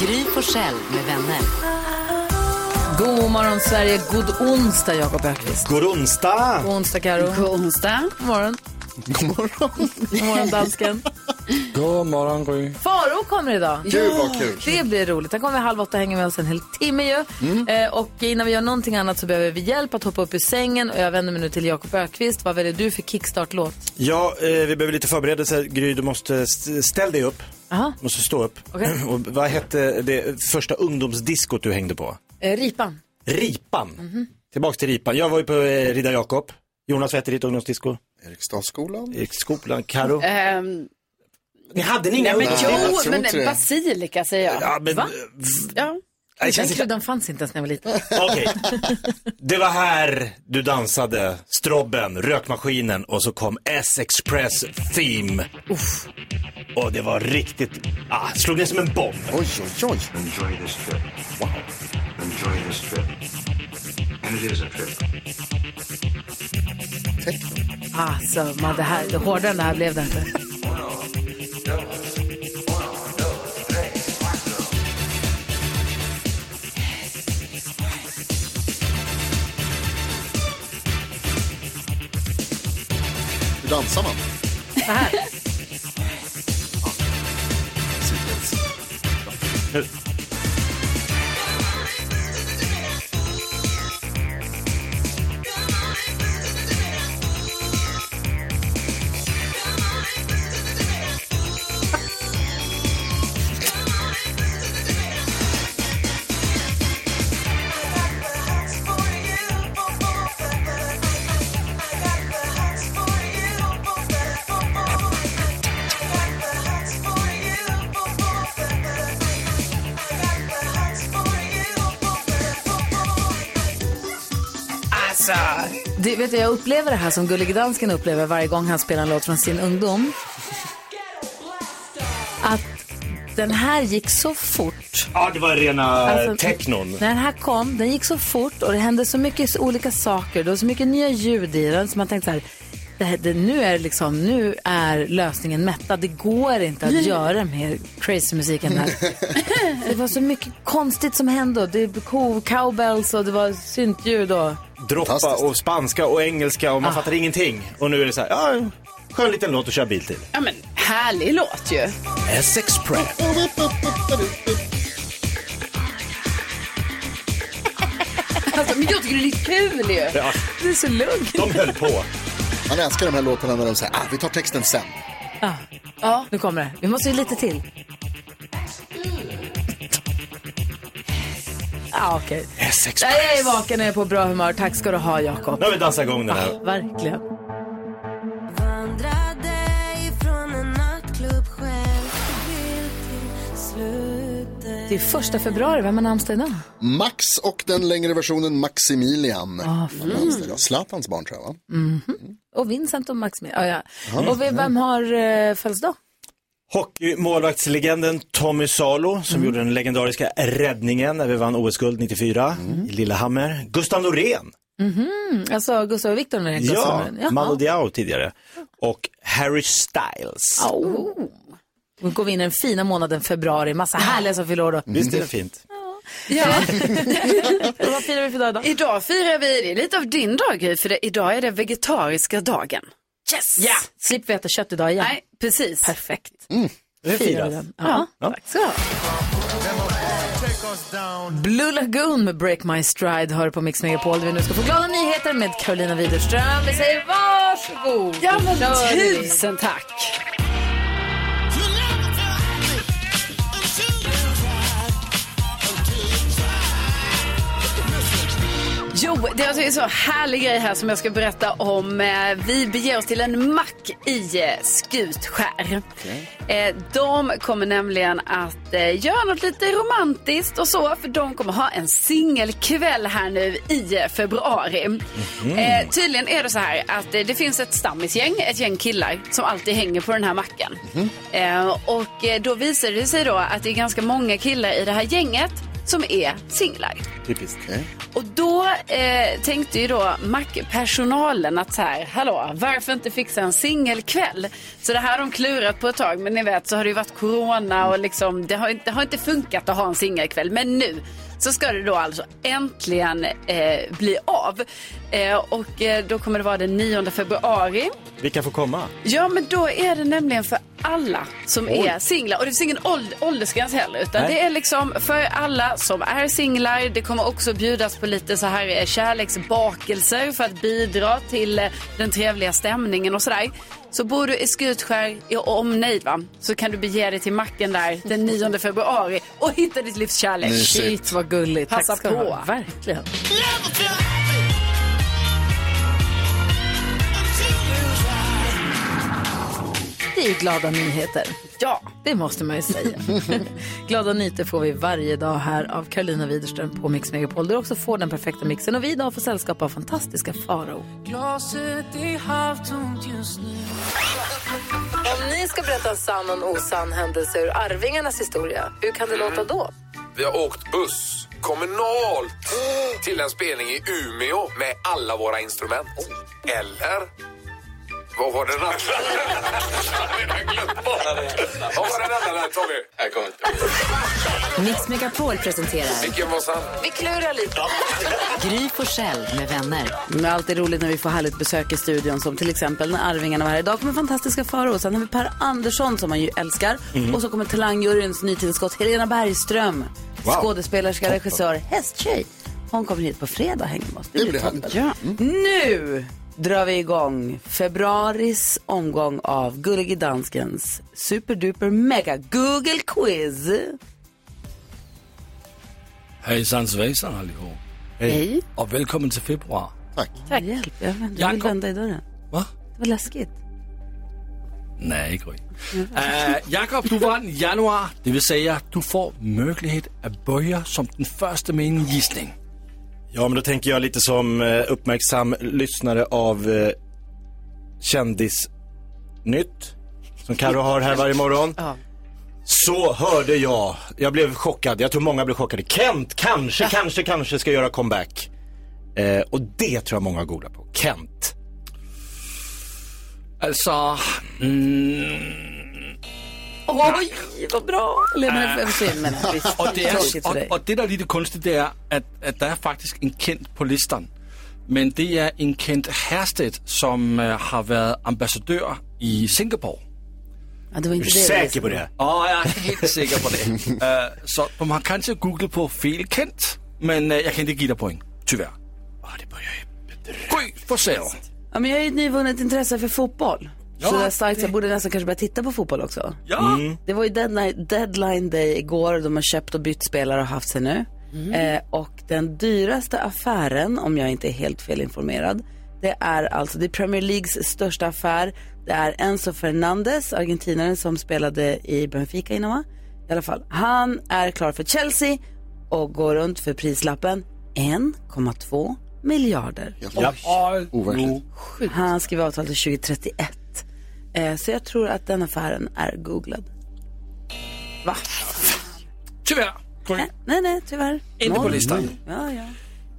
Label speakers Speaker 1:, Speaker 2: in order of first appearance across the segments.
Speaker 1: Gry Forssell med vänner.
Speaker 2: God morgon Sverige, god onsdag Jakob Öqvist.
Speaker 3: God onsdag!
Speaker 2: God onsdag Karo.
Speaker 4: God onsdag.
Speaker 2: God morgon.
Speaker 5: God morgon.
Speaker 2: God morgon dansken.
Speaker 6: God morgon, Gry.
Speaker 2: Faro kommer idag.
Speaker 5: Gud, vad kul. Mm.
Speaker 2: Det blir roligt. Han kommer vid halv åtta och hänger med oss en hel timme ju. Eh, och innan vi gör någonting annat så behöver vi hjälp att hoppa upp ur sängen. Och jag vänder mig nu till Jakob Ökvist. Vad väljer du för kickstart-låt?
Speaker 3: Ja, eh, vi behöver lite förberedelser. Gry, du måste st- ställ dig upp.
Speaker 2: Aha.
Speaker 3: Måste stå upp.
Speaker 2: Okej.
Speaker 3: Och vad hette det första ungdomsdiskot du hängde på?
Speaker 2: Eh, ripan.
Speaker 3: Ripan.
Speaker 2: Mhm.
Speaker 3: Tillbaks till Ripan. Jag var ju på eh, Ridda Jakob. Jonas, vad hette ditt ungdomsdisco?
Speaker 5: Eriksdalsskolan.
Speaker 3: I skolan. Karo?
Speaker 2: Eh. Mm.
Speaker 4: Ehm,
Speaker 3: Ni hade ni inga
Speaker 4: men
Speaker 3: ungdomsdisco?
Speaker 5: jag
Speaker 4: jo,
Speaker 5: tror
Speaker 4: men
Speaker 5: inte det.
Speaker 4: basilika säger jag.
Speaker 3: Ja, men... eh,
Speaker 2: Va?
Speaker 3: v-
Speaker 4: Ja.
Speaker 3: Det känns
Speaker 2: Den
Speaker 3: inte...
Speaker 2: klubben fanns inte ens när jag var liten.
Speaker 3: Okej. Det var här du dansade. Strobben, rökmaskinen och så kom S-Express Theme. Och det var riktigt... Ah, slog ner som en bomb.
Speaker 5: Oj, oj, oj.
Speaker 7: Enjoy this trip. Wow. Enjoy this trip. And it is a trip.
Speaker 2: Alltså, man, det här, det hårdare än det här blev det inte.
Speaker 5: Hur dansar man?
Speaker 2: Så här. Du, vet du, jag upplever det här som Gullig Dansken upplever varje gång han spelar en låt från sin ungdom. Att den här gick så fort.
Speaker 3: Ja, det var rena alltså,
Speaker 2: Alltså,
Speaker 3: technon.
Speaker 2: När den här kom, den gick så fort och det hände så mycket olika saker. Det var så mycket nya ljud i den så man tänkte så här, det här det, nu, är det liksom, nu är lösningen mättad. Det går inte att göra mer crazy musik än den här. det var så mycket konstigt som hände. och Det var cowbells och det var syntljud och...
Speaker 3: Droppa
Speaker 5: Fantastiskt.
Speaker 3: och spanska och engelska
Speaker 4: Ah.
Speaker 3: och man fattar ingenting. Och nu är det så här, ja, skön liten låt att köra bil till.
Speaker 4: ja, men härlig låt ju.
Speaker 3: S-Express.
Speaker 4: Alltså, men jag tycker det är lite kul ju.
Speaker 3: Ja,
Speaker 2: Det är så lugnt.
Speaker 3: de höll på.
Speaker 5: Man älskar de här låtarna när de säger ah, vi tar texten sen.
Speaker 2: Ja, nu kommer det. Vi måste ju lite till. Ja, okej.
Speaker 3: S-Express.
Speaker 2: Jag är vaken och jag är på bra humör. Tack ska du ha, Jakob.
Speaker 3: Nu har vi dansat igång den här.
Speaker 2: Verkligen. Det är första februari. Vem har namnsdag idag?
Speaker 8: Max och den längre versionen Maximilian.
Speaker 2: Ah, fan.
Speaker 8: Mm. Zlatans barn tror jag va?
Speaker 2: Och Vincent och Max med. Ah, ja. Och vi- vem har eh, födelsedag?
Speaker 3: Hockeymålvaktslegenden Tommy Salo
Speaker 2: Mm.
Speaker 3: som gjorde den legendariska räddningen när vi vann OS-guld 94
Speaker 2: Mm.
Speaker 3: i Lillehammer. Gustav Norén,
Speaker 2: Alltså Gustav och Viktor Norén.
Speaker 3: ja,
Speaker 2: Gustav Norén.
Speaker 3: Manu Diao tidigare. Och Harry Styles.
Speaker 2: Au. Nu går vi in i den fina månaden februari. Massa härliga som fyller år då.
Speaker 3: Visst är det fint?
Speaker 4: Ja.
Speaker 2: Och Vad firar vi för dag idag?
Speaker 4: Idag firar vi, det är lite av din dag Gry, för det, idag är det vegetariska dagen. Yes! Ja.
Speaker 2: Slipper vi äta kött idag igen.
Speaker 4: Nej, precis.
Speaker 2: Perfekt.
Speaker 3: Det är
Speaker 2: Firar vi
Speaker 3: firat.
Speaker 2: den. Ja.
Speaker 3: Ja.
Speaker 2: Så. Blue Lagoon med Break My Stride hör på Mix Megapol där vi nu ska få glada nyheter med Carolina Widerström. Vi säger varsågod.
Speaker 4: Ja, men
Speaker 2: Kör vi.
Speaker 4: tusen tack. Jo, det är alltså en så härlig grej här som jag ska berätta om. Eh, Vi beger oss till en mack i eh, Skutskär. Eh, De kommer nämligen att eh, göra något lite romantiskt och så, för de kommer ha en singelkväll här nu i eh, februari.
Speaker 2: Mhm.
Speaker 4: Eh, tydligen är det så här att eh, det finns ett stammisgäng, ett gäng killar, som alltid hänger på den här macken. Eh, och eh, då visar det sig då att det är ganska många killar i det här gänget som är singlar.
Speaker 3: Typiskt.
Speaker 4: Och då eh, tänkte ju då mackpersonalen att så här, hallå, varför inte fixa en singelkväll? Så det här har de klurat på ett tag, men ni vet så har det ju varit corona och liksom, det, har, inte- det har inte funkat att ha en singelkväll. Men nu så ska det då alltså äntligen eh, bli av. Eh, och eh, då kommer det vara den 9 februari.
Speaker 3: Vilka får komma?
Speaker 4: Ja, men då är det nämligen för alla som
Speaker 3: Oj.
Speaker 4: är singlar. Och det finns ingen åld- åldersgräns heller, utan
Speaker 3: Nej.
Speaker 4: det är liksom för alla som är singlar. Det kommer också bjudas på lite så här eh, kärleksbakelser för att bidra till eh, den trevliga stämningen och sådär. Så bor du i Skutskär i omnejd va? så kan du bege dig till macken där den 9 februari och hitta ditt livs kärlek.
Speaker 9: Mysigt. Shit, vad gulligt. Tack
Speaker 4: Passa
Speaker 9: ska du
Speaker 4: på.
Speaker 9: ha. Verkligen. Det är ju glada nyheter.
Speaker 4: Ja.
Speaker 9: Det måste man ju säga. glada nyheter får vi varje dag här av Carolina Widerström på Mix Megapol. Där du också får den perfekta mixen. Och vi idag får sällskap av fantastiska Farao.
Speaker 10: Glaset är halvtomt just nu.
Speaker 9: Om ni ska berätta en sann och en osann händelse ur Arvingarnas historia, hur kan det
Speaker 11: Mm.
Speaker 9: låta då?
Speaker 11: Vi har åkt buss kommunalt till en spelning i Umeå med alla våra instrument. Eller? Vad var den andra? Jag har glömt bort. Vad var den andra där, Tommy? Jag kommer inte
Speaker 12: Mix Megapol presenterar
Speaker 11: Vilken var sann?
Speaker 9: Vi klurar lite.
Speaker 12: Gry Forssell med vänner.
Speaker 2: Men alltid roligt när vi får härligt besök i studion som till exempel när Arvingarna var här. Idag kommer fantastiska Farao, sen har vi Per Andersson som man ju älskar.
Speaker 10: Mm.
Speaker 2: Och så kommer talangjuryns nytillskott Helena Bergström.
Speaker 10: Wow.
Speaker 2: Skådespelerska, regissör, hästtjej. Hon kommer hit på fredag och hänger med oss. Det, blir härligt. Ja. Nu drar vi igång februaris omgång av Gullige Danskens superduper mega Google Quiz.
Speaker 7: Hejsan svejsan allihop.
Speaker 2: Hej.
Speaker 7: Och välkommen till februari. Tack.
Speaker 2: Tack. Hjälp, jag vänder- jag vill
Speaker 7: Jakob.
Speaker 2: vända i dörren.
Speaker 7: Va?
Speaker 2: Det var läskigt.
Speaker 7: Nej, Gry. Uh, Jakob, du vann januari. Det vill säga, du får möjlighet att börja som den första med en gissning.
Speaker 3: Ja, men då tänker jag lite som eh, uppmärksam lyssnare av eh, Kändisnytt, som Karo har här varje morgon. Så hörde jag, jag blev chockad, jag tror många blev chockade. Kent kanske, kanske, kanske ska göra comeback. Eh, och det tror jag många googlar på. Kent.
Speaker 7: Alltså... Mm,
Speaker 2: Oj, vad bra! Lena,
Speaker 7: Ah.
Speaker 2: det försvinner. Men visst,
Speaker 7: och, det är,
Speaker 2: tråkigt för
Speaker 7: och,
Speaker 2: dig.
Speaker 7: och det, der er lite kunstigt, det er, at, at der er faktisk en kendt på listen. Men det er en kendt Herstedt, som øh, har været ambassadør i Singapore.
Speaker 2: Ja, det var inte det jag visste.
Speaker 7: Åh, jeg er helt sikker på det. Øh, så du har kanskje googlet på fel kendt, men øh, jeg kan ikke give dig point, tyvärr. Åh, det börjar ju Gry Forssell.
Speaker 2: Ja, men jag har ju ett nyvunnet intresse för fotboll.
Speaker 7: Ja,
Speaker 2: så det är starkt, så jag borde nästan kanske börja titta på fotboll också.
Speaker 7: Ja. Mm.
Speaker 2: Det var ju deadline, deadline day igår och de har köpt och bytt spelare och haft sig nu.
Speaker 10: Mm.
Speaker 2: Eh, och den dyraste affären, om jag inte är helt felinformerad, det är alltså det är Premier Leagues största affär. Det är Enzo Fernandes, argentinaren som spelade i Benfica innan va? I alla fall, han är klar för Chelsea och går runt för prislappen 1,2 miljarder.
Speaker 8: Ja. Overkligt.
Speaker 2: Han skriver avtal till 2031. Eh, så jag tror att den affären är googlad. Va?
Speaker 7: Tyvärr. Nej,
Speaker 2: nej, nej, tyvärr.
Speaker 7: Inte på
Speaker 2: Noll.
Speaker 7: listan.
Speaker 2: Ja, ja.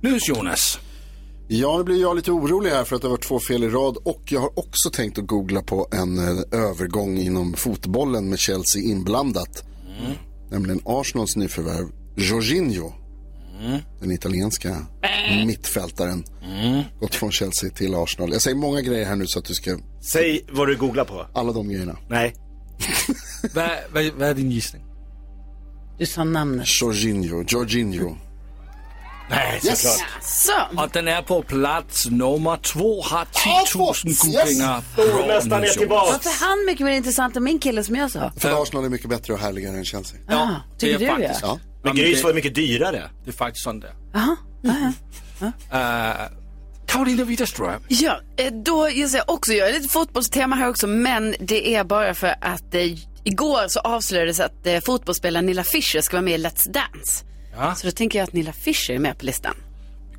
Speaker 7: Nu Jonas.
Speaker 8: Ja, nu blir jag lite orolig här för att det har varit två fel i rad och jag har också tänkt att googla på en eh, övergång inom fotbollen med Chelsea inblandat. Nämligen Arsenals nyförvärv Jorginho. Den italienska mittfältaren. Gått från Chelsea till Arsenal. Jag säger många grejer här nu så att du ska...
Speaker 3: Säg vad du googlar på.
Speaker 8: Alla de grejerna.
Speaker 3: Nej.
Speaker 7: Hvad, hvad, hvad er din gissning?
Speaker 2: Du sa namnet.
Speaker 8: Jorginho, Jorginho.
Speaker 7: Nej,
Speaker 8: Yes.
Speaker 7: såklart. Og den er på plads nummer 2, har 10.000 googlinger.
Speaker 8: Åh, nästan är tillbaks.
Speaker 2: Varför är han mycket mer intressant än min kille som jag sa?
Speaker 8: För Arsenal är mycket bättre och härligare än Chelsea.
Speaker 2: Ja, ah, tycker
Speaker 8: det
Speaker 2: du
Speaker 8: är
Speaker 2: ja?
Speaker 8: faktiskt- Ja.
Speaker 3: Men
Speaker 7: Jamen,
Speaker 3: Grys
Speaker 7: det-
Speaker 3: var mycket dyrare.
Speaker 7: Det är faktiskt sånt där.
Speaker 4: Jaha. jaha.
Speaker 7: Uh, Karolina Widerström.
Speaker 4: Ja, eh, då gissar jag också, jag är lite fotbollstema här också, men det är bara för att eh, igår så avslöjades att eh, fotbollsspelaren Nilla Fischer ska vara med i Let's Dance.
Speaker 7: Ja.
Speaker 4: Så då tänker jag att Nilla Fischer är med på listan.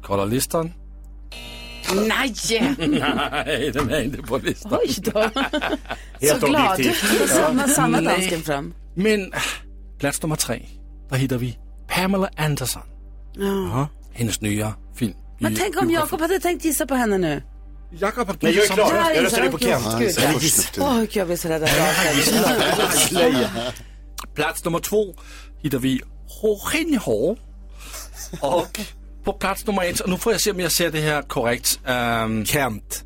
Speaker 7: Kolla listan.
Speaker 4: Nej!
Speaker 7: Nej, den är inte på listan. Oj
Speaker 4: då. Så glad. Samma- samma dansken
Speaker 2: fram.
Speaker 7: Men plats nummer tre, där hittar vi Pamela Anderson.
Speaker 2: Ja.
Speaker 7: Hennes nya film.
Speaker 2: Men
Speaker 7: i
Speaker 2: tänk om
Speaker 7: biograf.
Speaker 2: Jakob hade tänkt gissa på henne nu.
Speaker 7: Jakob har
Speaker 3: Nej, jag är klar. Jag
Speaker 2: gissar.
Speaker 3: röstar ju på
Speaker 2: Okej,
Speaker 3: Kent.
Speaker 2: gud,
Speaker 3: Ja,
Speaker 2: ja.
Speaker 3: jag gissar.
Speaker 2: Åh, gud, jag blir så rädd. att jag-
Speaker 7: Plats nummer två hittar vi Hohenhor. Och på plats nummer ett, och nu får jag se om jag säger det här korrekt. Um,
Speaker 3: Kent.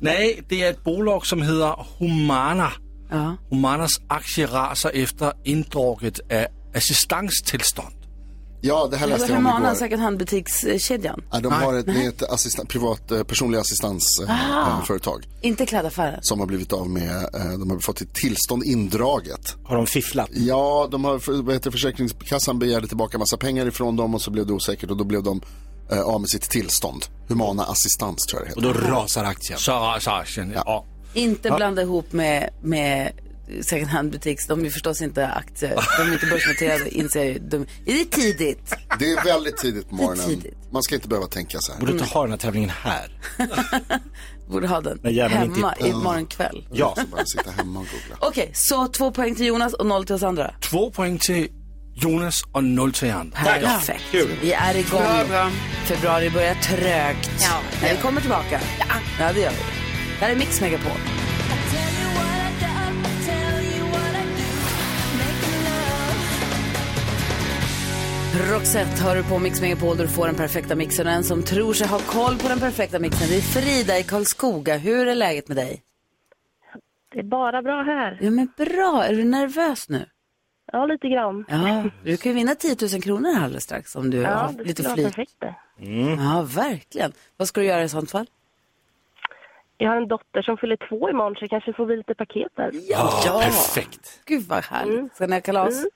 Speaker 7: Nej, det är ett bolag som heter Humana.
Speaker 2: Ja.
Speaker 7: Humanas aktier rasar efter indraget av assistanstillstånd.
Speaker 8: Ja, det här läste jag om
Speaker 2: Humana
Speaker 8: igår.
Speaker 2: har säkert handbutikskedjan.
Speaker 8: Ja, de
Speaker 2: Nej.
Speaker 8: har ett,
Speaker 2: Nej.
Speaker 8: det är ett assistan, privat eh, personlig
Speaker 2: Ah.
Speaker 8: assistansföretag eh,
Speaker 2: Inte klädaffären.
Speaker 8: som har blivit av med, eh, de har fått ett tillstånd indraget.
Speaker 3: Har de fifflat?
Speaker 8: Ja, de har, för- vad heter, det, Försäkringskassan begärde tillbaka massa pengar ifrån dem och så blev det osäkert och då blev de eh, av med sitt tillstånd. Humana assistans tror jag det heter.
Speaker 3: Och då rasar aktien.
Speaker 7: Så rasar aktien, ja.
Speaker 2: Inte
Speaker 8: Ja.
Speaker 2: blanda ihop med, med second hand-butiks. De är ju förstås inte aktier. De är inte börsnoterade, inser jag ju. De, är det tidigt?
Speaker 8: Det är väldigt tidigt på morgonen.
Speaker 2: Det är tidigt.
Speaker 8: Man ska inte behöva tänka så här.
Speaker 3: Borde inte ha den här tävlingen här.
Speaker 2: Borde ha den
Speaker 8: När hjärnan
Speaker 2: hemma
Speaker 8: inte är på.
Speaker 2: imorgon kväll.
Speaker 8: Ja. Så bara sitta hemma och googla.
Speaker 2: Okej, så två poäng till Jonas och noll till oss andra.
Speaker 7: Två poäng till Jonas och noll till Jan.
Speaker 2: Perfekt. Vi är igång.
Speaker 7: Bra,
Speaker 2: Februari börjar trögt. Ja. Men vi kommer tillbaka. Ja. ja, det gör vi. Det här är Mix Megapol. Roxette hör du på Mix Megapol där du får den perfekta mixen. Och en som tror sig ha koll på den perfekta mixen, det är Frida i Karlskoga. Hur är läget med dig?
Speaker 1: Det är bara bra här.
Speaker 2: Ja, men bra. Är du nervös nu?
Speaker 1: Ja, lite grann.
Speaker 2: Ja, du kan ju vinna 10 000 kronor här alldeles strax om du
Speaker 1: Ja,
Speaker 2: har
Speaker 1: det
Speaker 2: lite
Speaker 1: skulle vara
Speaker 2: flit.
Speaker 1: perfekt det.
Speaker 2: Ja, verkligen. Vad ska du göra i sånt fall?
Speaker 1: Jag har en dotter som fyller två imorgon så jag kanske får bli lite paket där.
Speaker 2: Ja, Ja. perfekt. Gud vad härligt. Ska ni ha kalas?
Speaker 1: Mm.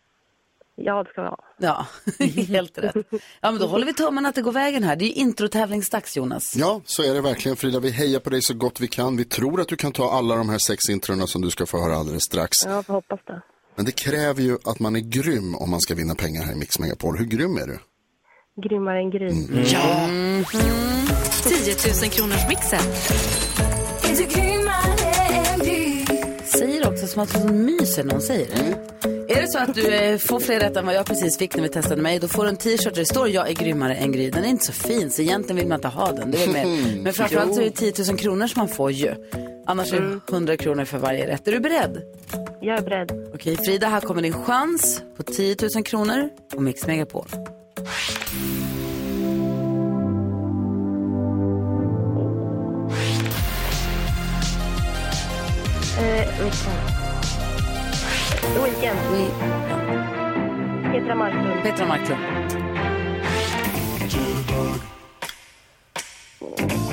Speaker 1: Ja, det ska vi ha.
Speaker 2: Ja, helt rätt. Ja, men då håller vi tummarna att det går vägen här. Det är ju introtävlingsdags, Jonas.
Speaker 8: Ja, så är det verkligen Frida. Vi hejar på dig så gott vi kan. Vi tror att du kan ta alla de här sex introna som du ska få höra alldeles strax.
Speaker 1: Ja, får hoppas det.
Speaker 8: Men det kräver ju att man är grym om man ska vinna pengar här i Mix Megapol. Hur grym är du?
Speaker 1: Grymmare än gris.
Speaker 8: Mm. Ja.
Speaker 12: 10 000 kronors mixen.
Speaker 2: Säger också som att hon myser när hon säger det. Är det så att du eh, får fler rätt än vad jag precis fick när vi testade mig, då får du en t-shirt där det står jag är grymmare än Gry. Den är inte så fin, så egentligen vill man inte ha den. Det är väl mer. Men framförallt så är det 10 000 kronor som man får ju. Annars är det 100 kronor för varje rätt. Är du beredd?
Speaker 1: Jag är beredd.
Speaker 2: Okej, Frida, här kommer din chans på 10 000 kronor på Mix Megapol.
Speaker 1: Eh, weekend. Weekend. Petra Marklund.
Speaker 2: Petra Marklund.
Speaker 1: Eh,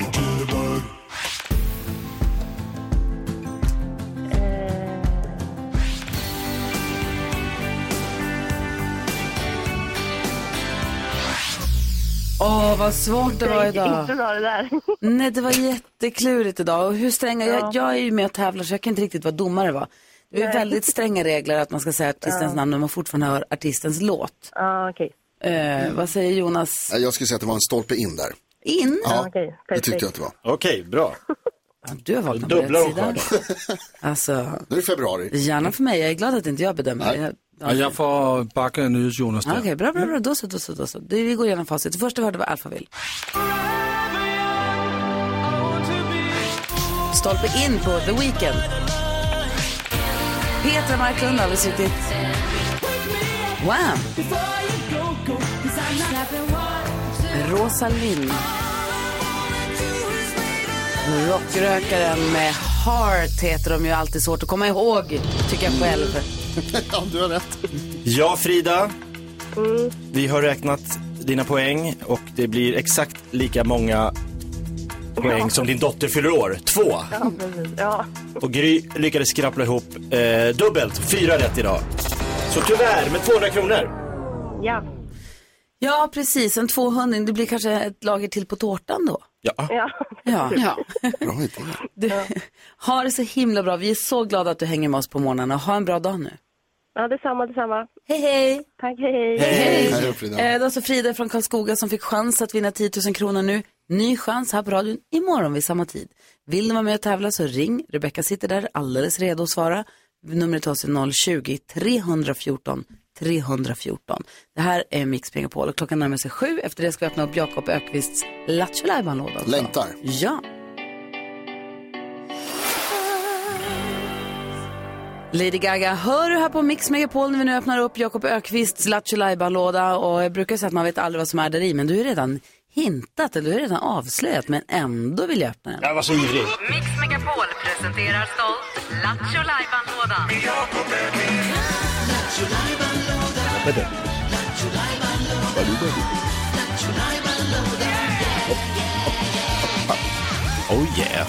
Speaker 2: Åh, vad svårt det var idag.
Speaker 1: Inte bra det där.
Speaker 2: Nej, det var jätteklurigt idag. Och hur stränga,
Speaker 1: Ja.
Speaker 2: jag, jag är ju med och tävlar så jag kan inte riktigt vara domare va? Det är
Speaker 1: Nej.
Speaker 2: väldigt stränga regler att man ska säga artistens
Speaker 1: Ja.
Speaker 2: namn när man fortfarande hör artistens låt.
Speaker 1: Ja, okej.
Speaker 2: Eh,
Speaker 1: Mm.
Speaker 2: vad säger Jonas?
Speaker 8: Jag skulle säga att det var en stolpe in där.
Speaker 2: In?
Speaker 8: Ja, det tyckte jag att det var.
Speaker 3: Okej, bra.
Speaker 2: Du har valt den på
Speaker 8: Dubblar
Speaker 2: rätt
Speaker 8: och
Speaker 2: sida. Alltså,
Speaker 8: Nu är det februari.
Speaker 2: gärna för mig. Jag är glad att inte jag bedömer. det. Jag,
Speaker 7: Och jag får backa nyhets Jonas
Speaker 2: Ja,
Speaker 7: där.
Speaker 2: Okej, bra, bra, bra. Då så, då så, då så. Det, vi går igenom facit. Det första vi hörde var Alphaville. Stolpe in på The Weeknd. Petra Marklund, alldeles riktigt. Wham! Rosalind. Rockrökaren med Heart heter de ju alltid svårt att komma ihåg, tycker jag själv.
Speaker 8: ja, du har rätt.
Speaker 3: Ja, Frida. Vi har räknat dina poäng och det blir exakt lika många poäng som din dotter fyller år. Två.
Speaker 1: Ja, precis. Ja.
Speaker 3: Och Gry lyckades skrappla ihop eh, dubbelt, fyra rätt idag. Så tyvärr, med 200 kronor.
Speaker 1: Ja.
Speaker 2: Ja, precis. En 200. Det blir kanske ett lager till på tårtan då.
Speaker 1: Ja. ja.
Speaker 2: Ja.
Speaker 8: Bra idé.
Speaker 2: Du, ha det så himla bra. Vi är så glada att du hänger med oss på morgnarna. Ha en bra dag nu.
Speaker 1: Ja, detsamma, detsamma.
Speaker 2: Hej, hej.
Speaker 1: Tack, hej, hej.
Speaker 8: Hej då, Frida.
Speaker 2: Eh, det var så Frida från Karlskoga som fick chans att vinna 10 000 kronor nu. Ny chans här på radion imorgon vid samma tid. Vill ni vara med och tävla så ring. Rebecka sitter där alldeles redo att svara. Numret till oss är 020-314 314. Det här är Mix Megapol och klockan närmar sig sju. Efter det ska vi öppna upp Jakob Ökvists Lattjo Lajban-låda. också.
Speaker 8: Längtar.
Speaker 2: Ja. Lady Gaga hör du här på Mix Megapol när vi nu öppnar upp Jakob Ökvists Lattjo låda och jag brukar säga att man vet aldrig vad som är där i men du är redan hintat eller du är redan avslöjat men ändå vill jag öppna den.
Speaker 3: Jag var så ivrig.
Speaker 12: Mix Megapol presenterar stolt Lattjo Lajban-lådan.
Speaker 3: Oh yeah.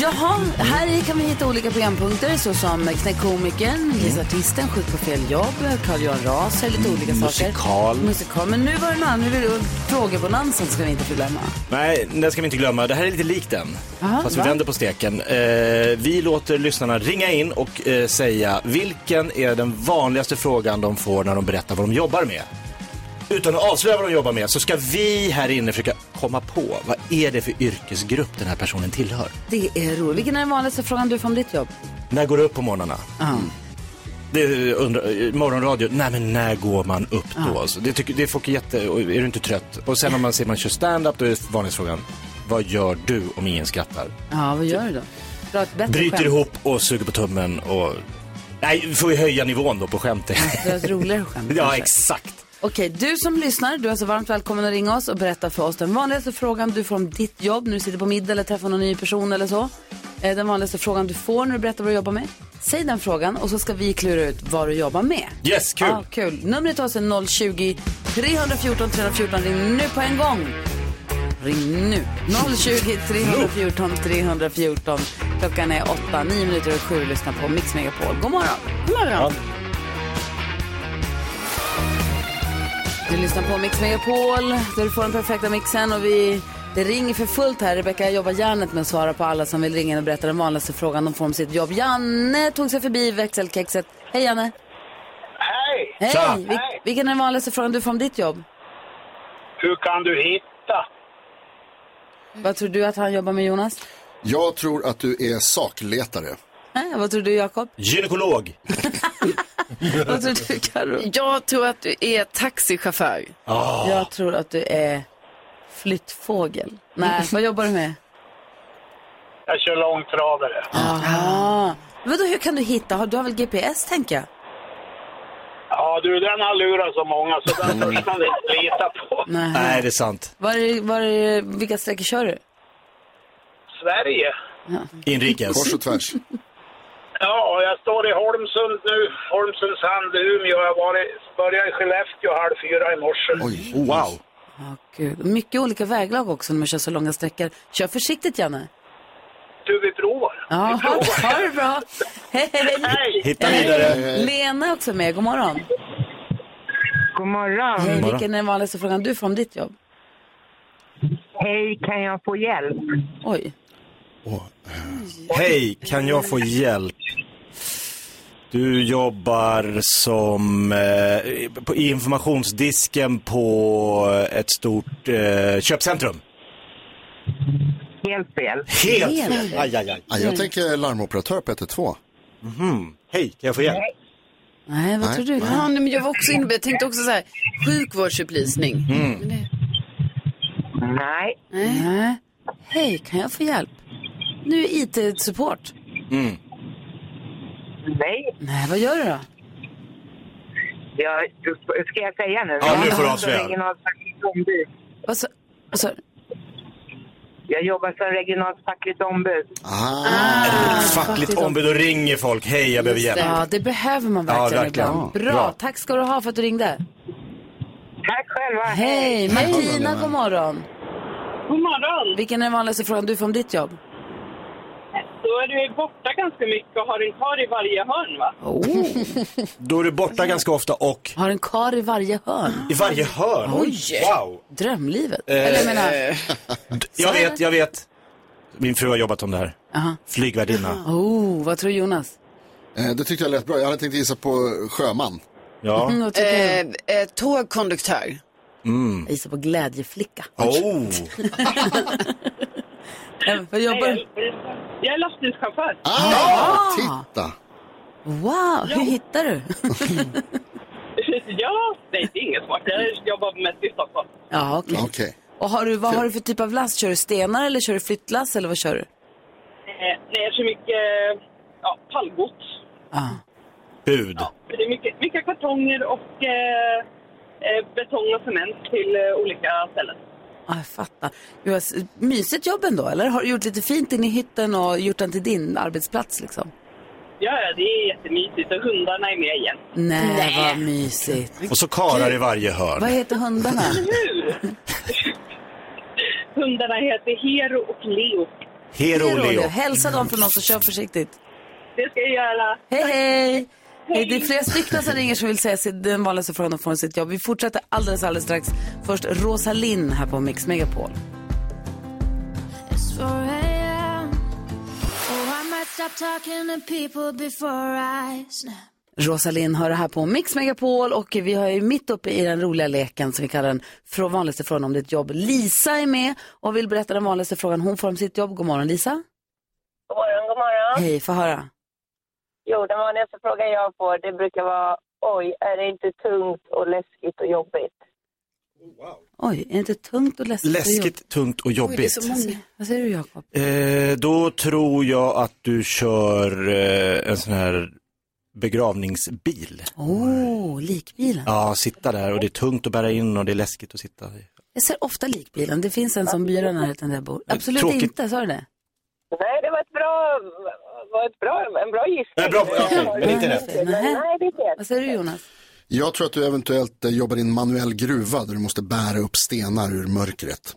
Speaker 2: Jaha, här i kan vi hitta olika programpunkter såsom Knäck
Speaker 3: Mm.
Speaker 2: komikern, Gissartisten, Skjut på fel jobb, Carl Johan Ras, lite olika saker.
Speaker 3: Mm, Musikal.
Speaker 2: Musikal. Men nu var det något annat, nu är det frågebonansen ska vi inte förglömma.
Speaker 3: Nej, den ska vi inte glömma. Det här är lite likt den.
Speaker 2: Aha,
Speaker 3: Fast
Speaker 2: va?
Speaker 3: vi vänder på steken. Eh, vi låter lyssnarna ringa in och eh, säga vilken är den vanligaste frågan de får när de berättar vad de jobbar med. Utan att avslöja vad de jobbar med så ska vi här inne försöka komma på vad är det för yrkesgrupp den här personen tillhör.
Speaker 2: Det är roligt. Vilken är den vanligaste frågan du får om ditt jobb?
Speaker 3: När går du upp på morgnarna?
Speaker 2: Ja.
Speaker 3: Det är undra, eh, morgonradio, nej men när går man upp då?
Speaker 2: Ah.
Speaker 3: Alltså, det, tycker, det är folk jätte, och är du inte trött? Och sen om man ser man kör stand-up då är vanlighetsfrågan, vad gör du om ingen skrattar?
Speaker 2: Ja, vad gör du då? Dra ett bättre
Speaker 3: Bryter
Speaker 2: skämt.
Speaker 3: ihop och suger på tummen och... Nej, vi får vi höja nivån då på skämtet.
Speaker 2: Dra ett roligare skämt.
Speaker 3: ja,
Speaker 2: kanske.
Speaker 3: exakt.
Speaker 2: Okej, du som lyssnar, du är så varmt välkommen att ringa oss och berätta för oss den vanligaste frågan du får om ditt jobb när du sitter på middag eller träffar någon ny person eller så. Eh, Den vanligaste frågan du får när du berättar vad du jobbar med. Säg den frågan och så ska vi klura ut vad du jobbar med.
Speaker 3: Yes, kul.
Speaker 2: Ja, kul. Numret till oss är alltså 020 314 314. Ring nu på en gång. Ring nu. 020 314 314. Klockan är åtta, nio minuter och sju. Lyssna på Mix Megapol. God morgon. God morgon. Du lyssnar på Mix Megapol där du får den perfekta mixen och vi, det ringer för fullt här. Rebecka jobbar hjärnet med att svara på alla som vill ringa in och berätta den vanligaste frågan de får om sitt jobb. Janne tog sig förbi växelkexet. Hej Janne!
Speaker 13: Hej!
Speaker 2: Hej! Vil- Vilken är den vanligaste frågan du får om ditt jobb?
Speaker 13: Hur kan du hitta?
Speaker 2: Vad tror du att han jobbar med Jonas?
Speaker 8: Jag tror att du är sakletare.
Speaker 2: Nej, Äh, vad tror du Jakob?
Speaker 3: Gynekolog.
Speaker 2: Vad tror du Karo?
Speaker 4: Jag tror att du är taxichaufför.
Speaker 3: Ah.
Speaker 2: Jag tror att du är flyttfågel. Nej, vad jobbar du med?
Speaker 13: Jag kör långtradare.
Speaker 2: Aha. Vadå, hur kan du hitta? Har- Du har väl GPS tänker jag?
Speaker 13: Ja, du, den har lurat så många så
Speaker 14: Mm.
Speaker 13: den törs man inte lita på.
Speaker 2: Nej.
Speaker 3: Nej, det är sant.
Speaker 2: Var är, var är, vilka sträckor kör du?
Speaker 13: Sverige.
Speaker 3: Inrikes.
Speaker 8: Kors och tvärs.
Speaker 13: Ja, jag står i Holmsund nu. Holmsundshamn, Umeå. Jag var i, började i Skellefteå halv fyra i morse.
Speaker 8: Oj,
Speaker 3: wow.
Speaker 2: Gud. Mycket olika väglag också när man kör så långa sträckor. Kör försiktigt Janne.
Speaker 13: Du, vi provar.
Speaker 2: Ja, ha, ha det bra. Hej, hej.
Speaker 3: Hitta vidare.
Speaker 2: Lena är också med. God morgon.
Speaker 14: God morgon.
Speaker 2: Hej, vilken är den vanligaste frågan du får om ditt jobb?
Speaker 14: Hej, kan jag få hjälp?
Speaker 2: Oj.
Speaker 3: Hej, kan jag få hjälp? Du jobbar som eh, på, i informationsdisken på ett stort eh, köpcentrum.
Speaker 14: Helt fel.
Speaker 3: Helt fel. Aj, aj, aj.
Speaker 8: Ja, jag tänker larmoperatör på 112.
Speaker 3: Hej, kan jag få hjälp?
Speaker 2: Nej,
Speaker 8: vad Nej. tror du?
Speaker 4: Ja, nej, men jag, var också inne, jag tänkte också så här, sjukvårdsupplysning.
Speaker 3: Mm.
Speaker 4: Men det-
Speaker 14: Nej.
Speaker 2: Nej. Hej, kan jag få hjälp? Nu är IT-support.
Speaker 3: Mm.
Speaker 14: Nej.
Speaker 2: Nej, vad gör du då?
Speaker 14: Jag, ska jag säga nu?
Speaker 2: Ja, nu får du avslöja.
Speaker 14: Jag jobbar som regionalt fackligt ombud.
Speaker 2: Vad sa vad sa du?
Speaker 14: Jag jobbar som regionalt fackligt ombud.
Speaker 8: Ah,
Speaker 3: Fackligt ombud och ringer folk. Hej, jag behöver hjälp.
Speaker 2: Ja, det behöver man
Speaker 3: Ja,
Speaker 2: verkligen,
Speaker 3: verkligen.
Speaker 2: ibland.
Speaker 3: Ja,
Speaker 2: Bra.
Speaker 3: bra.
Speaker 2: tack ska du ha för att du ringde.
Speaker 14: Tack själva.
Speaker 2: Hej,
Speaker 14: Tack.
Speaker 2: Martina, god morgon.
Speaker 14: God morgon.
Speaker 2: Vilken är den vanligaste frågan du får om ditt jobb?
Speaker 14: Då
Speaker 7: då är du ju borta ganska mycket och har en kar i varje hörn va?
Speaker 3: Då är du borta ganska ofta och
Speaker 2: Har en kar i varje hörn.
Speaker 3: i varje hörn.
Speaker 2: Oj!
Speaker 3: Wow!
Speaker 2: Drömlivet.
Speaker 3: Eh,
Speaker 2: Eller jag menar,
Speaker 3: Jag vet, jag vet. Min fru har jobbat om det här.
Speaker 2: Aha.
Speaker 3: Flygvärdinna.
Speaker 2: oh, vad tror Jonas?
Speaker 8: Eh, Det tyckte jag lät bra. Jag hade tänkt gissa på sjöman.
Speaker 3: Ja.
Speaker 2: Mm,
Speaker 10: Eh, eh, tågkonduktör.
Speaker 3: Mm.
Speaker 2: Jag gissar på glädjeflicka.
Speaker 3: Oh.
Speaker 2: Även för jag jobbar...
Speaker 7: Jag är lastbilschaufför.
Speaker 2: Ah,
Speaker 8: titta!
Speaker 2: Wow, hur hittar du?
Speaker 7: ja, nej det är inget svårt. Jag jobbar mest i Stockholm.
Speaker 2: Ja, okej. Och har du, vad har du för typ av last? Kör du stenar eller kör du flyttlass eller vad kör du?
Speaker 7: Eh, nej, jag kör mycket ja, pallgods.
Speaker 3: Bud.
Speaker 7: Det är mycket, mycket kartonger och eh, eh, betong och cement till eh, olika ställen.
Speaker 2: Ja, jag fattar. Du har s- mysigt jobb ändå, eller? Har du gjort lite fint in i hytten och gjort den till din arbetsplats liksom?
Speaker 7: Ja, ja, det är jättemysigt och hundarna är med igen.
Speaker 2: Nej, vad mysigt.
Speaker 3: Och så karar i varje
Speaker 2: Vad
Speaker 3: hörn.
Speaker 2: heter hundarna?
Speaker 7: Hundarna heter Hero och Leo.
Speaker 3: Hero och Leo.
Speaker 2: Hälsa dem från oss och kör försiktigt.
Speaker 7: Det ska jag göra.
Speaker 2: Hej, hej! Hej, det är flera stycken som ringer som vill säga sitt- den vanligaste frågan de får om sitt jobb. Vi fortsätter alldeles, alldeles strax. Först Rosa Linn här på Mix Megapol.
Speaker 15: It's 4 a.m. Oh, I might stop talking to people before I snap.
Speaker 2: Rosalind har det här på Mix Megapol och vi har ju mitt uppe i den roliga leken som vi kallar den från vanligaste frågan om ditt jobb. Lisa är med och vill berätta den vanligaste frågan hon får om sitt jobb. God morgon Lisa.
Speaker 1: God morgon, god morgon.
Speaker 2: Hej, få höra.
Speaker 1: Jo, den vanligaste frågan jag får det brukar vara oj, är det inte tungt och läskigt och jobbigt?
Speaker 2: Oj, är det inte tungt och läskigt? och jobbigt?
Speaker 3: Läskigt, tungt och jobbigt.
Speaker 2: Vad säger du Jakob?
Speaker 3: Eh, då tror jag att du kör eh, en sån här begravningsbil.
Speaker 2: Åh, oh, likbilen.
Speaker 3: Ja, sitta där och det är tungt att bära in och det är läskigt att sitta. i.
Speaker 2: Jag ser ofta likbilen. Det finns en som byrå i närheten där jag bor. Absolut
Speaker 3: Tråkigt.
Speaker 2: inte, sa du det?
Speaker 1: Nej, det var, ett bra, var ett bra, en bra gissning.
Speaker 3: Nej, bra, okej, men inte
Speaker 1: Men Nej, det är inte
Speaker 2: Vad säger du Jonas?
Speaker 8: Jag tror att du eventuellt eh, jobbar i en manuell gruva där du måste bära upp stenar ur mörkret.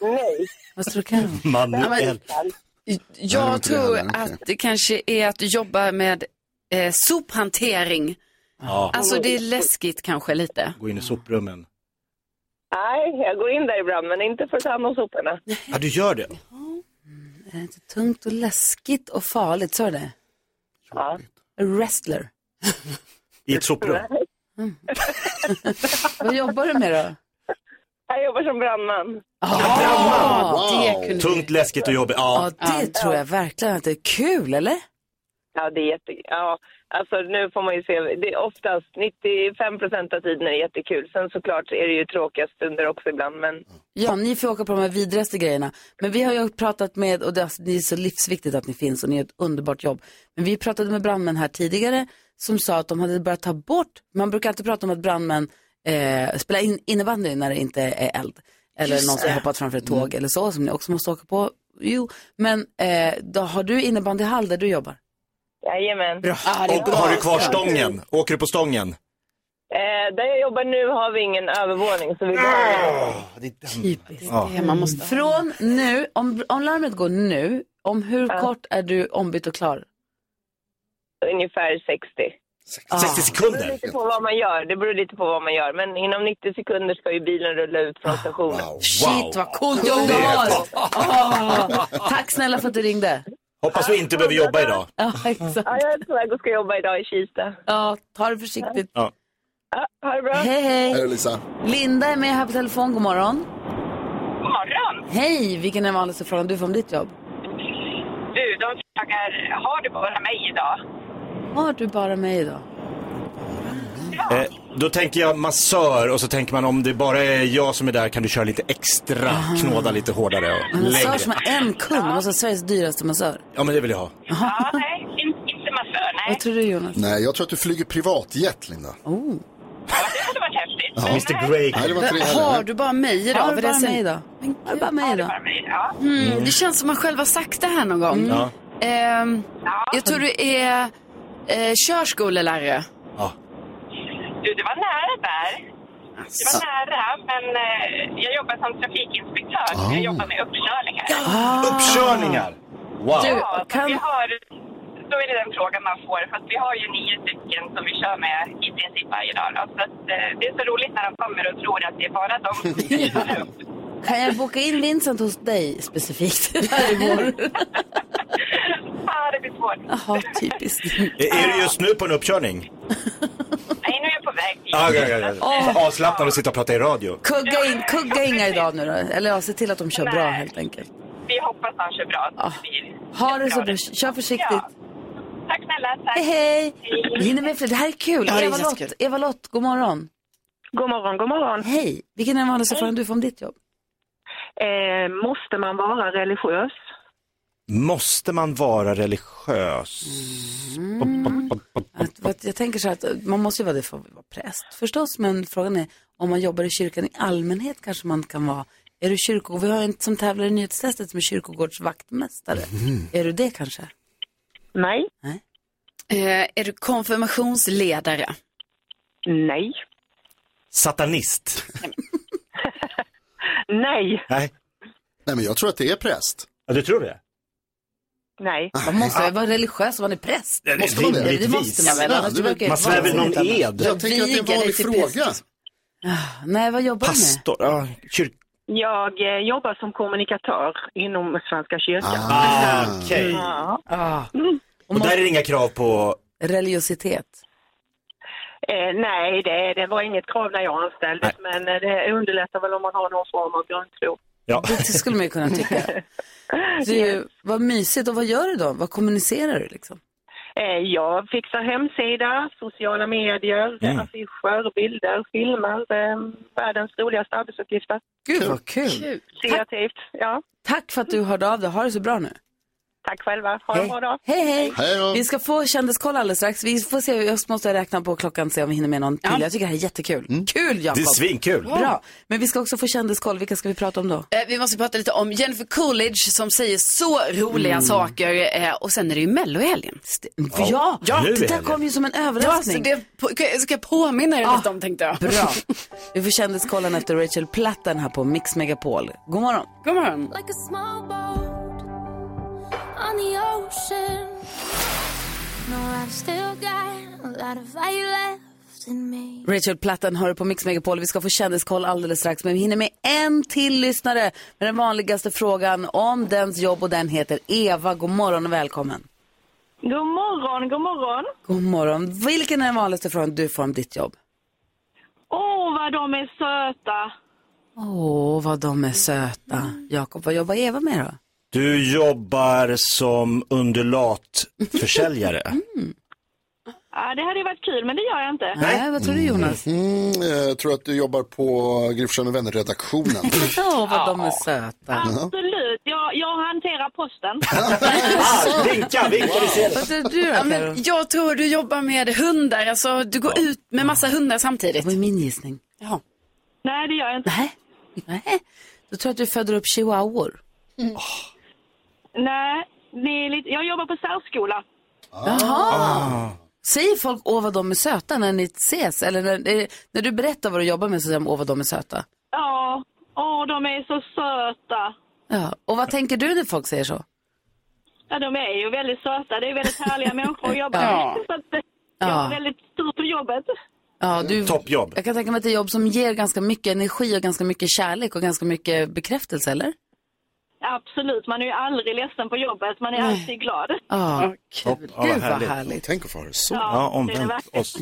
Speaker 1: Nej.
Speaker 2: Vad tror du Karin?
Speaker 8: Manuell.
Speaker 16: Jag
Speaker 8: Nej, det
Speaker 16: tror
Speaker 8: var inte det heller,
Speaker 16: att det kanske är att du jobbar med eh, sophantering.
Speaker 3: Ja.
Speaker 16: Alltså det är läskigt kanske lite.
Speaker 3: Gå in i soprummen.
Speaker 1: Nej, jag går in där ibland, men inte för att ta hand om soporna.
Speaker 3: Ja, du gör det.
Speaker 2: Är det inte tungt och läskigt och farligt, sa du det?
Speaker 1: Ja.
Speaker 2: A wrestler.
Speaker 3: I ett soprum.
Speaker 2: Vad jobbar du med då?
Speaker 1: Jag jobbar som brandman.
Speaker 8: Ah,
Speaker 3: Tungt, läskigt och jobbigt. Ja.
Speaker 2: Det tror jag verkligen att det är kul, eller?
Speaker 1: Ja, det är jätte... Ja, alltså nu får man ju se. Det är oftast 95 procent av tiden är det jättekul. Sen såklart är det ju tråkiga stunder också ibland, men
Speaker 2: Ja, ni får åka på de här vidrigaste grejerna. Men vi har ju pratat med, och det är det är så livsviktigt att ni finns och ni gör ett underbart jobb. Men vi pratade med brandmän här tidigare som sa att de hade börjat ta bort, man brukar alltid prata om att brandmän eh, spelar in innebandy när det inte är eld. Eller
Speaker 17: Just
Speaker 2: någon som
Speaker 17: det.
Speaker 2: hoppat framför ett tåg eller så, som ni också måste åka på. Jo, men eh, då har du innebandyhall där du jobbar?
Speaker 1: jajamän. Bra.
Speaker 3: Och har du kvar stången? Åker du på stången?
Speaker 1: Eh, där jag jobbar nu har vi ingen övervåning, så vi behöver...
Speaker 2: Typiskt.
Speaker 3: Ja.
Speaker 1: det man måste ha.
Speaker 2: Mm. Från nu, om, om larmet går nu, om hur kort är du ombytt och klar?
Speaker 1: Ungefär 60.
Speaker 3: 60
Speaker 1: Det beror lite på vad man gör. Det beror lite på vad man gör. Men inom 90 sekunder ska ju bilen rulla ut från stationen.
Speaker 2: Shit vad coolt jobb
Speaker 3: Det
Speaker 2: du
Speaker 3: är
Speaker 2: har!
Speaker 3: helt
Speaker 2: Åh, tack snälla för att du ringde.
Speaker 3: Hoppas vi inte behöver jobba idag.
Speaker 2: Ja, exakt.
Speaker 1: Ja, jag är på väg och ska jobba idag i Kista.
Speaker 2: Ja, ta det försiktigt.
Speaker 3: Ja.
Speaker 1: Ja, ha det bra.
Speaker 2: Hej, hej.
Speaker 8: Hej Lisa.
Speaker 2: Linda är med här på telefon, god morgon.
Speaker 7: God morgon!
Speaker 2: Hej, vilken är den vanligaste frågan du får om ditt jobb?
Speaker 7: Du, de frågar, har du bara mig idag?
Speaker 2: Har du bara mig idag?
Speaker 3: Eh, då tänker jag massör och så tänker man om det bara är jag som är där kan du köra lite extra, knåda lite hårdare och
Speaker 2: En massör som
Speaker 3: längre.
Speaker 2: har en kund, det måste vara Sveriges dyraste massör.
Speaker 3: Ja men det vill jag ha.
Speaker 7: Ja, nej, in- inte massör, nej.
Speaker 2: Vad tror du Jonas?
Speaker 8: Nej, jag tror att du flyger privatjet, Linda.
Speaker 2: Oh.
Speaker 8: Ja, det hade varit häftigt.
Speaker 3: Mr Grey.
Speaker 8: Nej, det var inte det heller.
Speaker 16: Har du bara mig idag?
Speaker 2: Har du
Speaker 16: Vad det
Speaker 2: bara
Speaker 16: sen-
Speaker 2: mig idag? Har du bara mig idag?
Speaker 16: Mm, det känns som man själv har sagt det här någon gång.
Speaker 3: Mm. Ja.
Speaker 16: Ehm, Jag tror du är eh, körskolelärare.
Speaker 7: Du, det var nära där. Det var nära, men
Speaker 2: Ah.
Speaker 7: eh, jag jobbar som trafikinspektör. så Jag jobbar med uppkörningar.
Speaker 3: Uppkörningar! Wow.
Speaker 18: Du,
Speaker 1: Ja,
Speaker 18: kan...
Speaker 1: vi har, då är det den frågan man får. För att vi har ju nio stycken som vi kör med i princip varje dag. Då. Så att, eh, det är så roligt när de kommer och tror att det är bara de.
Speaker 2: Kan jag boka in Vincent hos dig specifikt?
Speaker 1: ja, det blir svårt.
Speaker 2: Jaha, typiskt.
Speaker 3: Är, är du just nu på en uppkörning?
Speaker 1: Nej, nu är jag på väg dit.
Speaker 2: Ah,
Speaker 3: Ja, ja, ja, ja.
Speaker 2: Åh.
Speaker 3: Avslappnad och sitta och prata i radio.
Speaker 2: Kugga, in, kugga inga idag nu då. Eller ja, se till att de kör bra helt enkelt.
Speaker 1: Vi hoppas han kör bra. Så det blir
Speaker 2: Ah. Ha det så bra. Kör försiktigt.
Speaker 1: Tack snälla. Tack.
Speaker 2: Hej, hej. Vi hinner med fler. Det här är kul.
Speaker 1: Ja, det är
Speaker 2: Eva-Lott,
Speaker 1: jättekul.
Speaker 2: Eva-Lott, god morgon.
Speaker 1: God morgon, god morgon.
Speaker 2: Hej. Vilken är den vanligaste
Speaker 1: Hej.
Speaker 2: frågan du får om ditt jobb?
Speaker 1: Eh, måste man vara religiös?
Speaker 3: Måste man vara religiös?
Speaker 2: För att jag tänker så här att eh, man måste ju vara det för att vara präst förstås, men frågan är om man jobbar i kyrkan i allmänhet kanske man kan vara. Är du kyrko... Vi har en som tävlar i nyhetstestet som är kyrkogårdsvaktmästare.
Speaker 19: Mhm.
Speaker 2: Är du det kanske?
Speaker 1: Nej.
Speaker 19: Eh, är du konfirmationsledare?
Speaker 1: Nej.
Speaker 3: Satanist?
Speaker 1: Nej.
Speaker 3: Nej.
Speaker 8: Nej, men jag tror att det är präst.
Speaker 3: Ja, du tror det?
Speaker 1: Nej.
Speaker 3: Ah,
Speaker 2: Man måste vara religiös om man är präst.
Speaker 8: Det måste man det?
Speaker 2: det? Det måste man väl?
Speaker 8: Ja,
Speaker 2: annars
Speaker 8: det är väl-
Speaker 2: verkar det
Speaker 8: Man
Speaker 2: inte
Speaker 8: svär
Speaker 2: vara
Speaker 8: väl någon
Speaker 2: något annat.
Speaker 8: ed? Jag tänker att det är
Speaker 2: Viger
Speaker 8: en
Speaker 2: dig
Speaker 8: vanlig
Speaker 2: till
Speaker 8: fråga.
Speaker 2: präst. Ah, Nej, vad jobbar du med?
Speaker 3: Pastor, ja, kyrk...
Speaker 1: Jag eh, jobbar som kommunikatör inom Svenska kyrkan.
Speaker 3: Ah, okej.
Speaker 1: Ja.
Speaker 2: Ah.
Speaker 3: Mm. Och där är det inga krav på...
Speaker 2: Religiositet.
Speaker 1: Eh, nej, det, det var inget krav när jag anställdes, men eh, det underlättar väl om man har någon form av grundtro.
Speaker 3: Ja.
Speaker 2: Det skulle man ju kunna tycka. Du, vad mysigt. Och vad gör du då? Vad kommunicerar du liksom?
Speaker 1: Eh, jag fixar hemsida, sociala medier,
Speaker 2: Mm.
Speaker 1: affischer, bilder, filmer. Eh, världens roligaste arbetsuppgifter.
Speaker 2: Gud, vad kul. Kul.
Speaker 1: Kreativt, ja.
Speaker 2: Tack för att du hörde av dig. Ha det så bra nu.
Speaker 1: Tack själva. Ha en bra dag.
Speaker 2: Hej, hej.
Speaker 1: Hej då.
Speaker 2: Vi ska få kändiskoll alldeles strax. Vi får se, jag måste räkna på klockan och se om vi hinner med någon till. Jag tycker det här är jättekul. Kul, Jakob.
Speaker 3: Det är svinkul.
Speaker 2: Bra. Men vi ska också få kändiskoll. Vilka ska vi prata om då?
Speaker 19: Eh, vi måste prata lite om Jennifer Coolidge som säger så roliga
Speaker 2: Mm.
Speaker 19: saker eh, och sen är det ju Mello i helgen.
Speaker 2: Ja, det där kom ju som en överraskning. Ah,
Speaker 19: Ja, så det på- ska- ska jag påminna er lite om tänkte jag.
Speaker 2: Bra. Vi får kändiskollen efter Rachel Platten här på Mix Megapol. God morgon.
Speaker 19: God morgon.
Speaker 20: Like a small boat on the ocean. No, I've still got a lot of fire left in me.
Speaker 2: Rachel Platten hör på Mix Megapol. Vi ska få kändiskoll alldeles strax. Men vi hinner med en till lyssnare med den vanligaste frågan om dens jobb och den heter Eva. God morgon och välkommen.
Speaker 21: God morgon, god morgon.
Speaker 2: God morgon. Vilken är den vanligaste frågan du får om ditt jobb?
Speaker 21: Åh, vad de är söta.
Speaker 2: Åh, vad de är söta. Jakob, vad jobbar Eva med då?
Speaker 3: Du jobbar som undulatförsäljare.
Speaker 21: Ja, det hade ju varit kul, men det gör jag inte.
Speaker 2: vad tror du Jonas?
Speaker 8: Mm, jag tror att du jobbar på Gry Forssell med vänner-redaktionen.
Speaker 19: Mm.
Speaker 2: Åh, vad de är söta.
Speaker 19: Ah.
Speaker 21: Absolut, jag, jag hanterar posten.
Speaker 3: vinka, vinka, vi ser
Speaker 2: Vad tror du då,
Speaker 19: ja,
Speaker 2: Karo?
Speaker 19: men Jag tror du jobbar med hundar, alltså du går ut med massa hundar samtidigt. Det
Speaker 2: var min gissning.
Speaker 19: Ja.
Speaker 21: Nej, det gör jag inte.
Speaker 2: Nej, Nej. Då tror jag att du föder upp chihuahuor.
Speaker 21: Nej ni är lite, jag jobbar på särskola.
Speaker 2: Jaha.
Speaker 3: Ah,
Speaker 2: Säger folk åh vad de är söta när ni ses? Eller när, eh, när du berättar vad du jobbar med så säger de åh vad de är söta?
Speaker 21: Ja, åh, de är så söta.
Speaker 2: Ja. Och vad tänker du när folk säger så?
Speaker 21: Ja, de är ju väldigt söta. Det är väldigt härliga människor att jobba
Speaker 2: Ja.
Speaker 21: med. Så att, det-
Speaker 2: Ja.
Speaker 21: jag har väldigt tur på jobbet.
Speaker 2: Ja, du,
Speaker 3: Toppjobb.
Speaker 2: Jag kan tänka mig att det är jobb som ger ganska mycket energi och ganska mycket kärlek och ganska mycket bekräftelse, eller?
Speaker 21: Absolut, man är ju aldrig ledsen på jobbet. Man är alltid glad.
Speaker 2: Ja, kul. Gud
Speaker 3: vad
Speaker 2: vad
Speaker 3: härligt.
Speaker 2: härligt.
Speaker 8: Tänk att få ha det så.
Speaker 3: Ja, omvänt oss.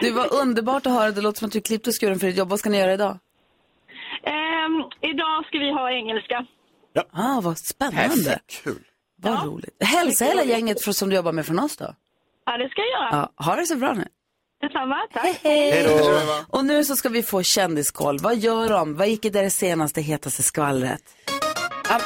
Speaker 2: Du var underbart att höra. Det låter som att du klippte skuren för ditt jobb. Vad ska ni göra idag?
Speaker 21: Ehm, idag ska vi ha engelska.
Speaker 3: Ja.
Speaker 2: Ah, vad spännande.
Speaker 8: Kul.
Speaker 2: Vad roligt. Hälsa hela gänget från, som du jobbar med från oss då.
Speaker 21: Ja, det ska jag göra.
Speaker 2: Ja, ha det så bra nu.
Speaker 21: Detsamma, tack.
Speaker 2: Hej då. Och nu så ska vi få kändiskoll. Vad gör de? Vad gick i det senaste hetaste skvallret?
Speaker 19: Ja,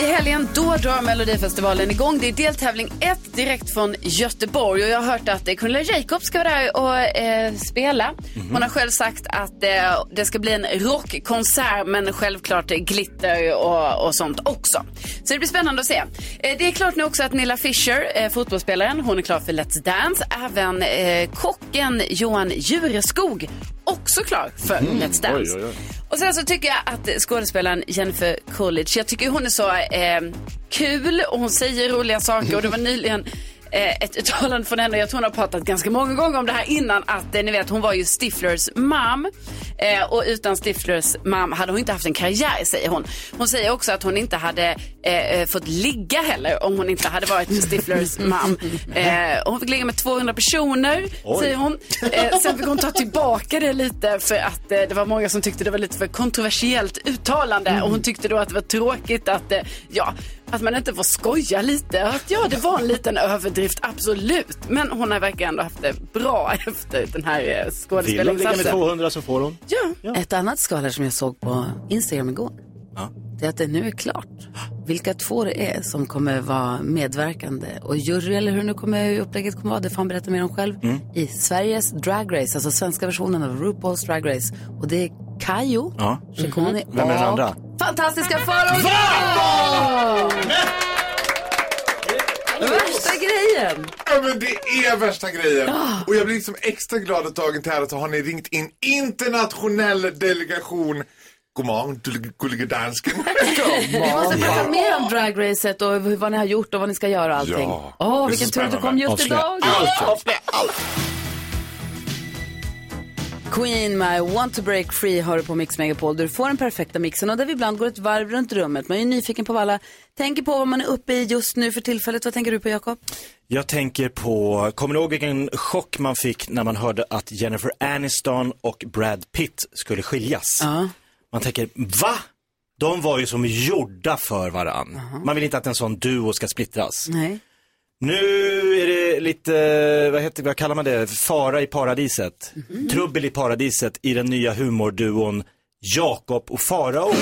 Speaker 19: eh, I helgen då drar Melodifestivalen igång. Det är deltävling 1 direkt från Göteborg. Och jag har hört att eh, Cornelia Jacobs ska vara där och eh, spela. Hon har själv sagt att eh, det ska bli en rockkonsert men självklart eh, glitter och, och sånt också. Så det blir spännande att se. Eh, det är klart nu också att Nilla Fischer, eh, fotbollsspelaren, hon är klar för Let's Dance. Även eh, kocken Johan Jureskog
Speaker 2: också klar för Let's Dance.
Speaker 8: Oj, oj, oj.
Speaker 2: Och sen så tycker jag att skådespelaren Jennifer Coolidge, jag tycker hon är så eh, kul och hon säger roliga saker och det var nyligen eh, ett uttalande från henne, jag tror hon har pratat ganska många gånger om det här innan, att eh, ni vet hon var ju Stiflers mam eh, och utan Stiflers mam hade hon inte haft en karriär säger hon. Hon säger också att hon inte hade eh, eh, fått ligga heller om hon inte hade varit Stiflers mam. Eh, hon fick ligga med 200 personer
Speaker 8: Oj.
Speaker 2: säger hon. Eh, sen fick hon ta tillbaka det lite för att eh, det var många som tyckte det var lite för kontroversiellt uttalande
Speaker 3: Mm.
Speaker 2: och hon tyckte då att det var tråkigt att, eh, ja, att man inte får skoja lite. Att, ja, det var en liten överdrift, absolut. Men hon har verkar ändå haft det bra efter den här eh,
Speaker 3: Vill hon ligga med
Speaker 2: skådespelarinsatsen.
Speaker 3: 200 så får hon.
Speaker 10: Ett annat skvaller som jag såg på Instagram igår, det är att det nu är klart vilka två det är som kommer vara medverkande och jury eller hur nu kommer upplägget kommer vara, det får han berätta mer om själv,
Speaker 8: Mm.
Speaker 10: i Sveriges Drag Race, alltså svenska versionen av RuPaul's Drag Race. Och det är Kayo,
Speaker 8: Ja. Mm-hmm.
Speaker 10: Shikoni
Speaker 8: Vem är den
Speaker 10: och
Speaker 8: andra?
Speaker 10: fantastiska Farao Graham! Värsta grejen!
Speaker 5: Ja, men det är värsta grejen. Och jag blir liksom extra glad att dagen till ära så har ni ringt in internationell delegation. God morgon, du- gullige dansken.
Speaker 10: Vi måste prata mer om dragracet och hur- vad ni har gjort och vad ni ska göra och allting.
Speaker 5: Ja.
Speaker 10: Åh,
Speaker 5: Det är så
Speaker 10: vilken tur att du
Speaker 5: spännande.
Speaker 10: kom just
Speaker 5: Avslöja
Speaker 10: idag!
Speaker 5: allt.
Speaker 10: Avslöja allt. Queen med Want to Break Free hör du på Mix Megapol där du får den perfekta mixen och där vi ibland går ett varv runt rummet. Man är ju nyfiken på vad alla tänker på, vad man är uppe i just nu för tillfället. Vad tänker du på Jakob?
Speaker 3: Jag tänker på, kommer ni ihåg vilken chock man fick när man hörde att Jennifer Aniston och Brad Pitt skulle skiljas? Man tänker, va? De var ju som gjorda för varann. Man vill inte att en sån duo ska splittras.
Speaker 10: Nej.
Speaker 3: Nu är det lite, vad, heter, vad kallar man det, fara i paradiset.
Speaker 10: Mhm.
Speaker 3: Trubbel i paradiset i den nya humorduon Jakob och Farao.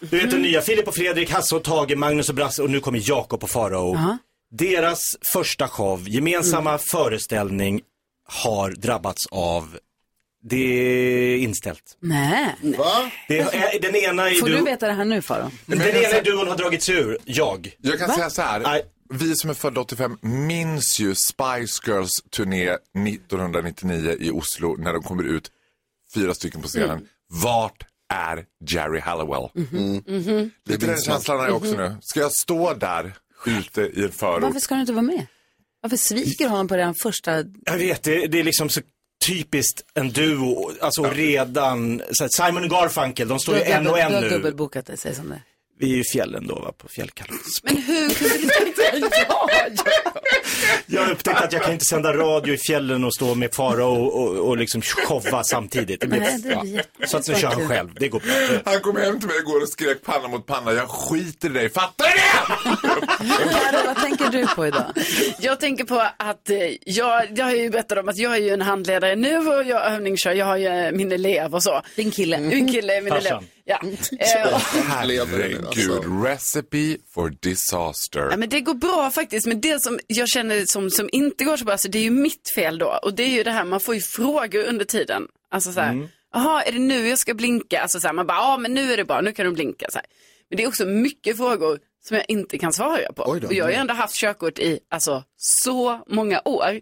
Speaker 3: Du vet den nya Filip och Fredrik, Hasse och Tage, Magnus och Brasse och nu kommer Jakob och Farao. Deras första show, gemensamma
Speaker 10: Mm.
Speaker 3: föreställning har drabbats av, det är inställt.
Speaker 10: Nej.
Speaker 5: Va?
Speaker 3: Det är, den ena i
Speaker 10: Får du
Speaker 3: duon-
Speaker 10: veta det här nu Farao?
Speaker 3: den ena i duon har dragits ur, jag.
Speaker 5: Jag kan
Speaker 3: Va?
Speaker 5: säga så här. Vi som är födda 85 minns ju Spice Girls turné 1999 i Oslo när de kommer ut fyra stycken på scenen.
Speaker 8: Mm.
Speaker 5: Vart är Jerry Halliwell?
Speaker 10: Mhm.
Speaker 5: Lite den känslan har jag också nu. Ska jag stå där ute i en förort?
Speaker 10: Varför ska du inte vara med? Varför sviker du honom på den första
Speaker 3: Jag vet, det, det är liksom så typiskt en duo, alltså redan, så att Simon och Garfunkel, de står ju
Speaker 10: Du har
Speaker 3: en och
Speaker 10: dubbel-
Speaker 3: en
Speaker 10: Du har
Speaker 3: nu.
Speaker 10: dubbelbokat dig, säg som det är.
Speaker 3: Vi är ju i fjällen då, va, på fjällkalas.
Speaker 10: Men hur kunde du inte
Speaker 3: Jag har upptäckt att jag kan inte sända radio i fjällen och stå med fara och, och, och liksom showa samtidigt. Det blir,
Speaker 5: Nej, det blir
Speaker 3: ja. Så att nu kör han själv, det går bra.
Speaker 5: Han kom hem till mig igår och skrek panna mot panna. Jag skiter i dig, fattar du det?
Speaker 10: Vad tänker du på idag?
Speaker 2: Jag tänker på att eh, jag, jag har ju berättat om att jag är ju en handledare nu och jag övningskör, jag har ju eh, min elev och så. Mm.
Speaker 10: Din kille.
Speaker 2: Min kille, är min elev.
Speaker 5: Farsan.
Speaker 2: Ja. Eh, och-
Speaker 5: Herregud, recipe for disaster.
Speaker 2: Ja, men det går bra faktiskt, men det som jag känner som, som inte går så bra, alltså, det är ju mitt fel då. Och det är ju det här, man får ju frågor under tiden. Alltså så här, jaha, är det nu jag ska blinka? Alltså så här, man bara, ja men nu är det bra, nu kan du blinka. Så här. Men det är också mycket frågor som jag inte kan svara på.
Speaker 8: då.
Speaker 2: Och jag har ju ändå haft körkort i alltså, så många år.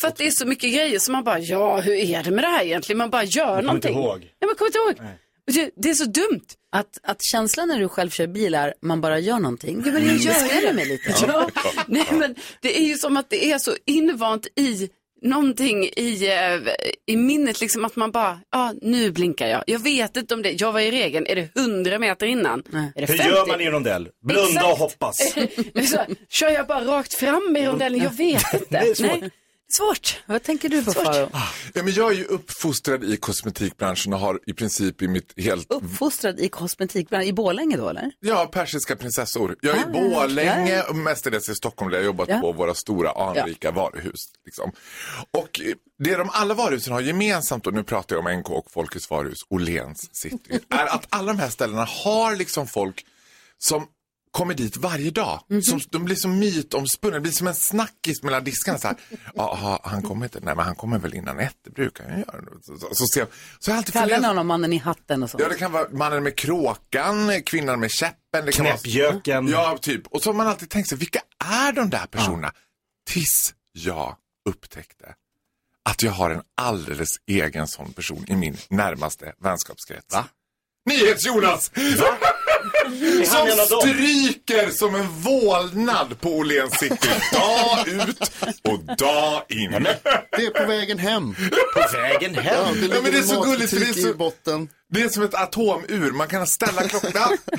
Speaker 2: För att det är så mycket grejer som man bara, ja hur är det med det här egentligen? Man bara gör
Speaker 10: kommer inte
Speaker 2: någonting.
Speaker 10: ihåg.
Speaker 2: Ja, man kommer inte ihåg. Det, det är så dumt.
Speaker 10: Att, att känslan när du själv kör bil är man bara gör någonting. Ja, men
Speaker 2: Mm.
Speaker 10: jag gör det med lite.
Speaker 2: Ja. Nej, men det är ju som att det är så invant i någonting i, eh, i minnet, liksom att man bara, ja nu blinkar jag. Jag vet inte om det, jag var i regeln, är det 100 meter innan? Är det
Speaker 3: Hur
Speaker 2: 50?
Speaker 3: gör man i en rondell? Blunda och
Speaker 2: Exakt.
Speaker 3: hoppas.
Speaker 2: så, kör jag bara rakt fram i rondellen? Jag vet inte.
Speaker 5: Det är svårt.
Speaker 2: Nej. Svårt.
Speaker 10: Vad tänker du på Farao?
Speaker 5: Ja, men jag är ju uppfostrad i kosmetikbranschen och har i princip i mitt helt...
Speaker 10: Uppfostrad i kosmetikbranschen, i Borlänge då eller?
Speaker 5: Ja, persiska prinsessor. Jag är i
Speaker 10: Ah,
Speaker 5: Borlänge
Speaker 10: ja.
Speaker 5: och mestadels i Stockholm där jag jobbat
Speaker 10: Ja.
Speaker 5: på våra stora anrika varuhus. Liksom. Och eh, det de alla varuhusen har gemensamt, och nu pratar jag om NK och Folkets varuhus, Åhléns city, är att alla de här ställena har liksom folk som kommer dit varje dag. som, de blir som mytomspunna, det blir som en snackis mellan diskarna. Så här, Aha, han kommer inte, nej men han kommer väl innan ett, det brukar han göra. Så, så, så, ser jag- så har jag alltid
Speaker 10: Kallar ni
Speaker 5: funderat-
Speaker 10: honom mannen i hatten och sånt?
Speaker 5: Ja, det kan vara mannen med kråkan, kvinnan med käppen. Det kan
Speaker 3: Knäppjöken.
Speaker 5: Vara... Ja, typ. Och så har man alltid tänkt sig, vilka är de där personerna? Tills jag upptäckte att jag har en alldeles egen sån person i min närmaste vänskapskrets. Va? Nyhets-Jonas! Som stryker som en vålnad på Åhléns city. Dag ut och dag in.
Speaker 8: Det är på vägen hem.
Speaker 3: På vägen hem?
Speaker 8: Ja, det ligger
Speaker 5: Ja, men det är så
Speaker 8: matbutik
Speaker 5: gulligt. För det, är
Speaker 8: i
Speaker 5: så,
Speaker 8: botten.
Speaker 5: det är som ett atomur. Man kan ställa klockan.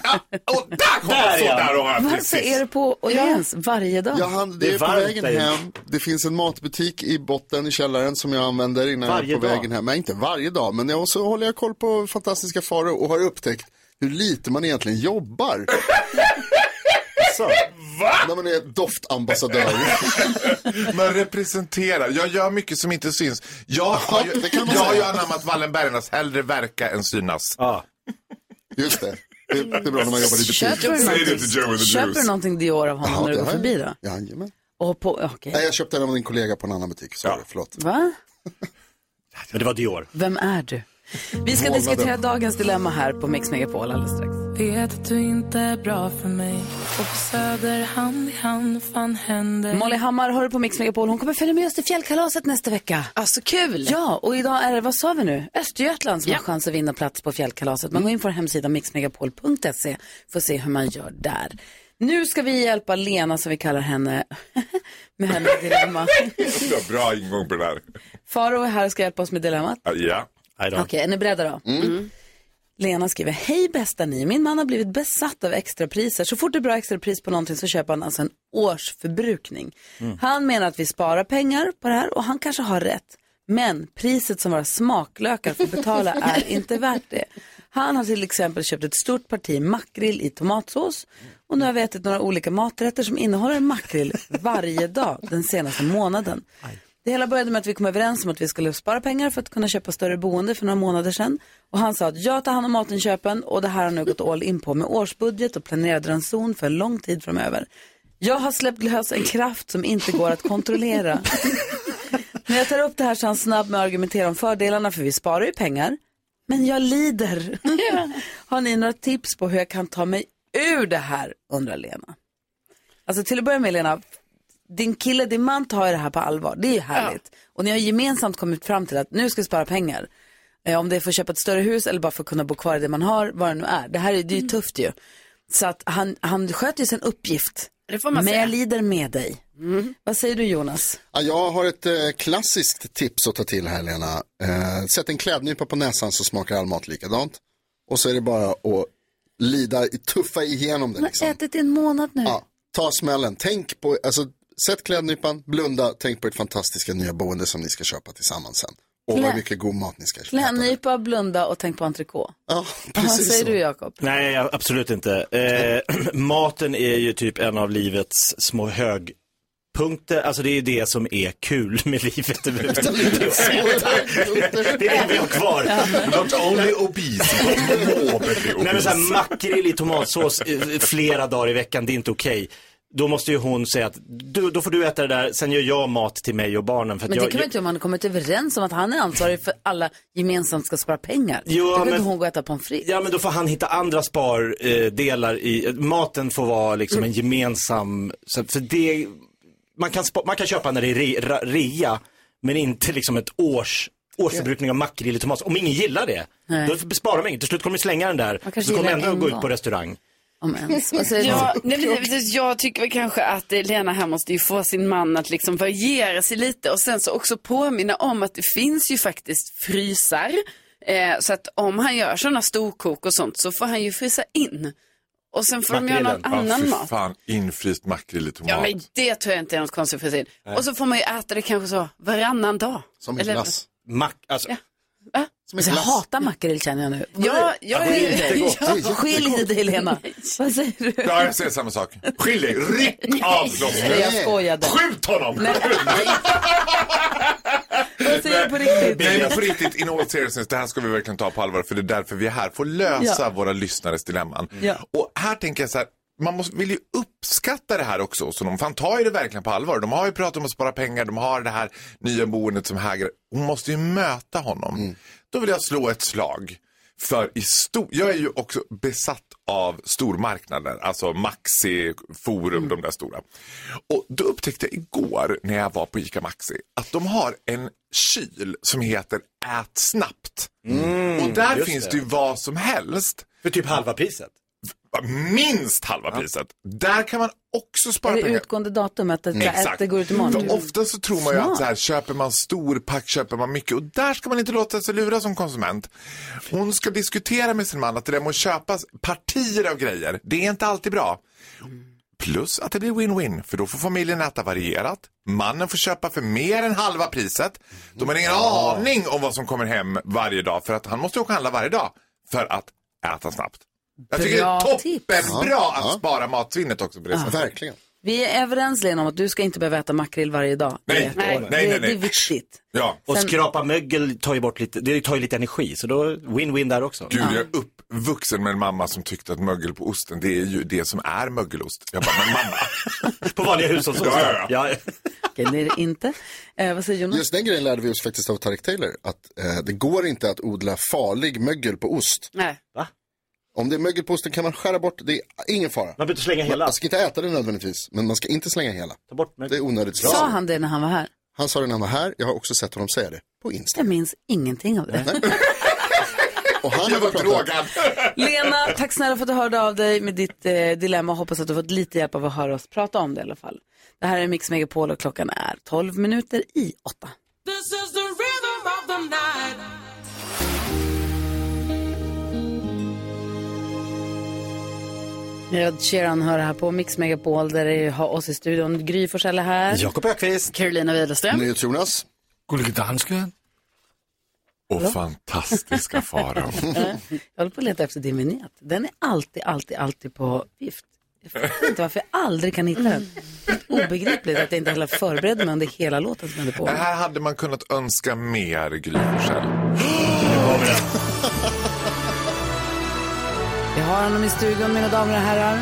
Speaker 5: Ja, ja, och där kom
Speaker 8: Där,
Speaker 5: den! Så
Speaker 8: ja.
Speaker 5: där har jag
Speaker 8: Varför
Speaker 2: Så
Speaker 5: precis.
Speaker 2: är det på Åhléns varje dag.
Speaker 8: Jag hand, det, är på vägen hem. Det finns en matbutik i botten i källaren som jag använder innan
Speaker 2: Varje
Speaker 8: jag är på
Speaker 2: dag?
Speaker 8: vägen hem. Nej, inte varje dag, men jag, och så håller jag koll på fantastiska faror och har upptäckt hur lite man egentligen jobbar. Så. När man är doftambassadör.
Speaker 5: Man representerar. Jag gör mycket som inte syns. Jag har ju,
Speaker 8: det kan man
Speaker 5: jag har ju
Speaker 8: säga.
Speaker 5: anammat Wallenbergarnas hellre verka än synas.
Speaker 8: Just det. Det, det är bra när man jobbar i butik.
Speaker 2: Köper du någonting, köper du någonting Dior av honom
Speaker 8: Ja,
Speaker 2: när du
Speaker 8: det
Speaker 2: går
Speaker 8: har jag.
Speaker 2: förbi då?
Speaker 8: Jajamän.
Speaker 2: Och på, okej.
Speaker 8: Nej, jag köpte den av din kollega på en annan butik. Sorry, förlåt.
Speaker 2: Va?
Speaker 3: Men det var Dior.
Speaker 2: Vem är du? Vi ska
Speaker 8: Månaden.
Speaker 2: diskutera dagens dilemma här på Mix Megapol alldeles strax.
Speaker 22: Mm.
Speaker 10: Vet att du inte är bra för mig Och på Söder hand i hand fan händer
Speaker 2: Molly Hammar har du på Mix Megapol. Hon kommer följa med oss till fjällkalaset nästa vecka.
Speaker 22: Ah, så kul!
Speaker 2: Ja, och idag är det, vad sa vi nu? Östergötland som har chans att vinna plats på fjällkalaset. Man går in på vår hemsida mixmegapol.se för att se hur man gör där. Nu ska vi hjälpa Lena, som vi kallar henne, med hennes dilemma.
Speaker 5: Det var bra ingång på det där.
Speaker 2: Faro är här och ska hjälpa oss med dilemmat.
Speaker 5: Ja.
Speaker 2: Okej, är ni beredda då? Lena skriver, hej bästa ni, min man har blivit besatt av extrapriser. Så fort det är bra extrapris på någonting så köper han alltså en årsförbrukning.
Speaker 23: Mm.
Speaker 2: Han menar att vi sparar pengar på det här och han kanske har rätt. Men priset som våra smaklökar får betala är inte värt det. Han har till exempel köpt ett stort parti makrill i tomatsås och nu har vi ätit några olika maträtter som innehåller makrill varje dag den senaste månaden. Det hela började med att vi kom överens om att vi skulle spara pengar för att kunna köpa större boende för några månader sedan. Och han sa att jag tar hand om matinköpen och det här har han nu gått all in på med årsbudget och planerad ranson för lång tid framöver. Jag har släppt lös en kraft som inte går att kontrollera. När jag tar upp det här så är han snabb med att argumentera om fördelarna för vi sparar ju pengar. Men jag lider. har ni några tips på hur jag kan ta mig ur det här undrar Lena. Alltså till att börja med Lena, din kille, din man tar ju det här på allvar. Det är ju härligt. Och ni har gemensamt kommit fram till att nu ska vi spara pengar. Eh, om det är för att köpa ett större hus eller bara för att kunna bo kvar i det man har, vad det nu är. Det här är,
Speaker 22: Mm.
Speaker 2: det är ju tufft ju. Så att han, han sköter ju sin uppgift.
Speaker 22: Det får man
Speaker 2: Men
Speaker 22: säga. Mm.
Speaker 2: jag lider med dig. Vad säger du Jonas?
Speaker 8: Ja, jag har ett eh, klassiskt tips att ta till här Lena. Eh, sätt en klädnypa på näsan så smakar all mat likadant. Och så är det bara att lida, tuffa igenom det.
Speaker 2: Han
Speaker 8: Liksom.
Speaker 2: har ätit i en månad nu.
Speaker 8: Ja, ta smällen, tänk på, alltså sätt klädnypan, blunda, tänk på ert fantastiska nya boende som ni ska köpa tillsammans sen. Och
Speaker 2: Klä-
Speaker 8: vad mycket god mat ni ska köpa.
Speaker 2: Klädnypa, blunda och tänk på entrecote.
Speaker 8: Ja,
Speaker 2: Vad säger du Jakob?
Speaker 3: Nej, jag- absolut inte. Eh, maten är ju typ en av livets små högpunkter. Alltså det är ju det som är kul med livet. det är det vi har kvar. Not only obese, but morbidly Nej men så här, makrill i tomatsås eh, flera dagar i veckan, det är inte okej. Då måste ju hon säga att du, då får du äta det där, sen gör jag mat till mig och barnen. För att
Speaker 2: Men det
Speaker 3: jag,
Speaker 2: kan man inte göra om man har kommit överens om att han är ansvarig för alla gemensamt ska spara pengar.
Speaker 3: Jo,
Speaker 2: då kan
Speaker 3: men-
Speaker 2: inte hon gå och äta pommes frites.
Speaker 3: Ja men då får han hitta andra spardelar i, maten får vara liksom en gemensam, så, för det, man kan, spa, man kan köpa när det är re, ra, rea, men inte liksom ett års, årsförbrukning av makrill i tomat. Om ingen gillar det,
Speaker 22: Nej.
Speaker 3: då sparar man inget. Till slut kommer de slänga den där,
Speaker 22: kanske
Speaker 3: så kommer
Speaker 22: gillar
Speaker 3: ändå
Speaker 22: en
Speaker 3: gå ut
Speaker 22: gång.
Speaker 3: på restaurang.
Speaker 2: Om ens. Vad säger
Speaker 22: Ja,
Speaker 2: du?
Speaker 22: nej, men, nej, precis. jag tycker väl kanske att eh, Lena här måste ju få sin man att liksom variera sig lite och sen så också påminna om att det finns ju faktiskt frysar. Eh, så att om han gör sådana storkok och sånt så får han ju frysa in. Och sen får de göra någon annan
Speaker 5: ja, fy
Speaker 22: mat.
Speaker 5: fan, infryst makrill i tomat.
Speaker 22: Ja men det tror jag inte är något konstigt för sig.
Speaker 5: Nej.
Speaker 22: Och så får man ju äta det kanske så varannan dag.
Speaker 8: Som
Speaker 22: Eller-
Speaker 3: Mack, alltså.
Speaker 22: Va?
Speaker 2: Alltså, jag hatar makrill känner jag nu.
Speaker 22: Ja, jag
Speaker 2: Skilj
Speaker 22: är-
Speaker 2: dig.
Speaker 22: Ja, det är jättegott.
Speaker 2: Skilj dig Lena. Vad säger du?
Speaker 5: Ja, jag säger samma sak. Skilj dig, ryck av
Speaker 2: Nej, jag
Speaker 5: dem.
Speaker 2: skojade.
Speaker 5: Skjut honom!
Speaker 2: Vad säger du på riktigt?
Speaker 5: Nej, men på riktigt, in all seriousness, det här ska vi verkligen ta på allvar för det är därför vi är här, för att lösa
Speaker 2: Ja.
Speaker 5: våra lyssnares dilemman.
Speaker 2: Ja.
Speaker 5: Och här tänker jag så här, man måste, vill ju uppskatta det här också, så de fan tar ju det verkligen på allvar. De har ju pratat om att spara pengar, de har det här nya boendet som hägrar. Hon måste ju möta honom. Då vill jag slå ett slag
Speaker 24: För i stor, jag är ju också besatt av stormarknader, alltså Maxi, Forum, de där stora. Och då upptäckte jag igår när jag var på ICA Maxi att de har en kyl som heter Ät snabbt.
Speaker 3: Mm,
Speaker 24: och där
Speaker 3: just
Speaker 24: finns
Speaker 3: det.
Speaker 24: det ju vad som helst.
Speaker 3: För typ halva priset?
Speaker 24: Minst halva priset. Där kan man också spara
Speaker 2: Är det
Speaker 24: pengar.
Speaker 2: utgående datum? Att det,
Speaker 24: Mm. Exakt.
Speaker 2: att det går ut imorgon?
Speaker 24: För Ofta så tror man ju att
Speaker 2: Smart.
Speaker 24: så här, köper man stor pack, köper man mycket. Och där ska man inte låta sig lura som konsument. Hon ska diskutera med sin man att det där med att köpa partier av grejer, det är inte alltid bra. Plus att det blir win-win, för då får familjen äta varierat. Mannen får köpa för mer än halva priset. De har ingen
Speaker 3: Ja.
Speaker 24: aning om vad som kommer hem varje dag, för att han måste åka och handla varje dag för att äta snabbt. Jag tycker
Speaker 2: Bra
Speaker 24: det är
Speaker 2: tips.
Speaker 24: toppenbra
Speaker 2: Ja,
Speaker 24: att
Speaker 2: ja.
Speaker 24: spara matsvinnet också på det
Speaker 2: Ja.
Speaker 24: sättet.
Speaker 2: Verkligen. Vi är överens Lena om att du ska inte behöva äta makrill varje dag. i
Speaker 3: Nej,
Speaker 2: ett
Speaker 3: nej,
Speaker 2: år.
Speaker 3: nej,
Speaker 2: det,
Speaker 3: nej.
Speaker 2: det är viktigt.
Speaker 24: Ja.
Speaker 3: Och
Speaker 2: Sen-
Speaker 3: skrapa mögel tar ju bort lite, det tar ju lite energi, så då win-win där också.
Speaker 24: Gud, jag är uppvuxen med en mamma som tyckte att mögel på osten, det är ju det som är mögelost. Jag bara, men mamma.
Speaker 3: på vanliga hushållsostar.
Speaker 24: Ja, ja, ja.
Speaker 2: Okej, det är det inte. Eh, vad säger Jonas?
Speaker 8: Just den grejen lärde vi oss faktiskt av Tarek Taylor. Att eh, det går inte att odla farlig mögel på ost.
Speaker 4: Nej.
Speaker 3: Va?
Speaker 8: Om det är mögel på osten kan man skära bort, det är ingen fara. Man
Speaker 3: behöver inte slänga hela.
Speaker 8: Man ska inte äta det nödvändigtvis, men man ska inte slänga hela.
Speaker 3: Ta bort
Speaker 8: Det är onödigt
Speaker 2: Sa
Speaker 8: slöseri.
Speaker 2: han det när han var här?
Speaker 8: Han sa det när han var här, jag har också sett honom säga det. På Insta.
Speaker 2: Jag minns ingenting av det.
Speaker 8: Och han
Speaker 24: jag var
Speaker 8: drogad.
Speaker 2: Lena, tack snälla för att du hörde av dig med ditt eh, dilemma. Hoppas att du har fått lite hjälp av att höra oss prata om det i alla fall. Det här är Mix Megapol och klockan är 12 minuter i 8.
Speaker 10: This is the rhythm of the night.
Speaker 2: Ed Sheeran hör här på Mix Megapol där det har oss i studion. Gry Forssell är här.
Speaker 3: Jakob Ökvist.
Speaker 2: Carolina Widerström.
Speaker 8: Jonas.
Speaker 7: Gullige dansken.
Speaker 24: Och fantastiska faror.
Speaker 2: Jag håller på att leta efter din vignett. Den är alltid, alltid, alltid på vift. Jag fattar inte varför jag aldrig kan hitta den. Obegripligt att jag inte heller förberedde mig under hela låten som jag hade på.
Speaker 24: Det här hade man kunnat önska mer Gry Forssell.
Speaker 2: Vi har honom i studion, mina damer och herrar.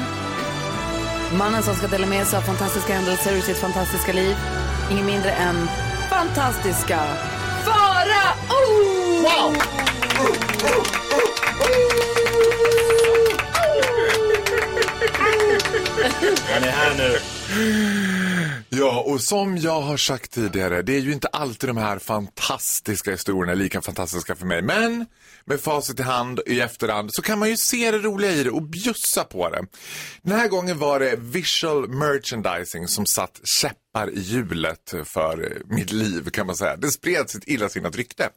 Speaker 2: Mannen som ska dela med sig av fantastiska händelser ur sitt fantastiska liv. Ingen mindre än fantastiska Farao! Wow!
Speaker 3: Han är här nu.
Speaker 24: Ja, och som jag har sagt tidigare, det är ju inte alltid de här fantastiska historierna är lika fantastiska för mig. Men med facit i hand i efterhand så kan man ju se det roliga i det och bjussa på det. Den här gången var det visual merchandising som satt käppar i hjulet för eh, mitt liv kan man säga. Det spreds ett illasinnat rykte.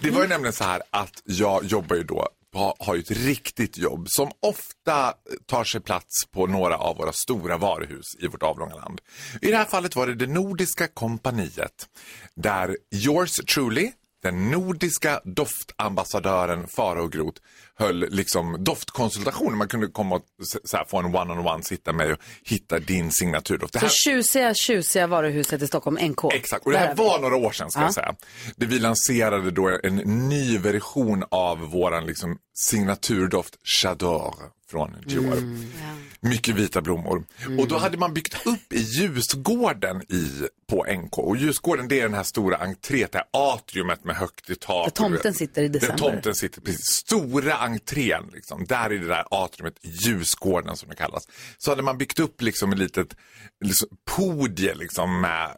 Speaker 24: Det var ju nämligen så här att jag jobbar ju då ha- har ju ett riktigt jobb som ofta tar sig plats på några av våra stora varuhus i vårt avlånga land. I det här fallet var det det Nordiska kompaniet där yours truly, den nordiska doftambassadören Farao Groth höll liksom doftkonsultationer. Man kunde komma och s- så här få en one-on-one, sitta med och hitta din signaturdoft. Det
Speaker 2: Så
Speaker 24: här-
Speaker 2: tjusiga, tjusiga varuhuset i Stockholm, NK.
Speaker 24: Exakt, och det här var några år sedan ska jag säga. Det vi lanserade då en ny version av våran liksom, signaturdoft Chador från Dior.
Speaker 2: Mm.
Speaker 24: Mycket vita blommor. Och då hade man byggt upp i Ljusgården i, på NK. Och Ljusgården det är den här stora entrén, det här atriumet med högt i tak.
Speaker 2: Där tomten sitter i
Speaker 24: Där
Speaker 2: december.
Speaker 24: tomten sitter, precis. Stora entrén, liksom. där i det där atriumet, Ljusgården som det kallas. Så hade man byggt upp liksom ett litet liksom, podie liksom, med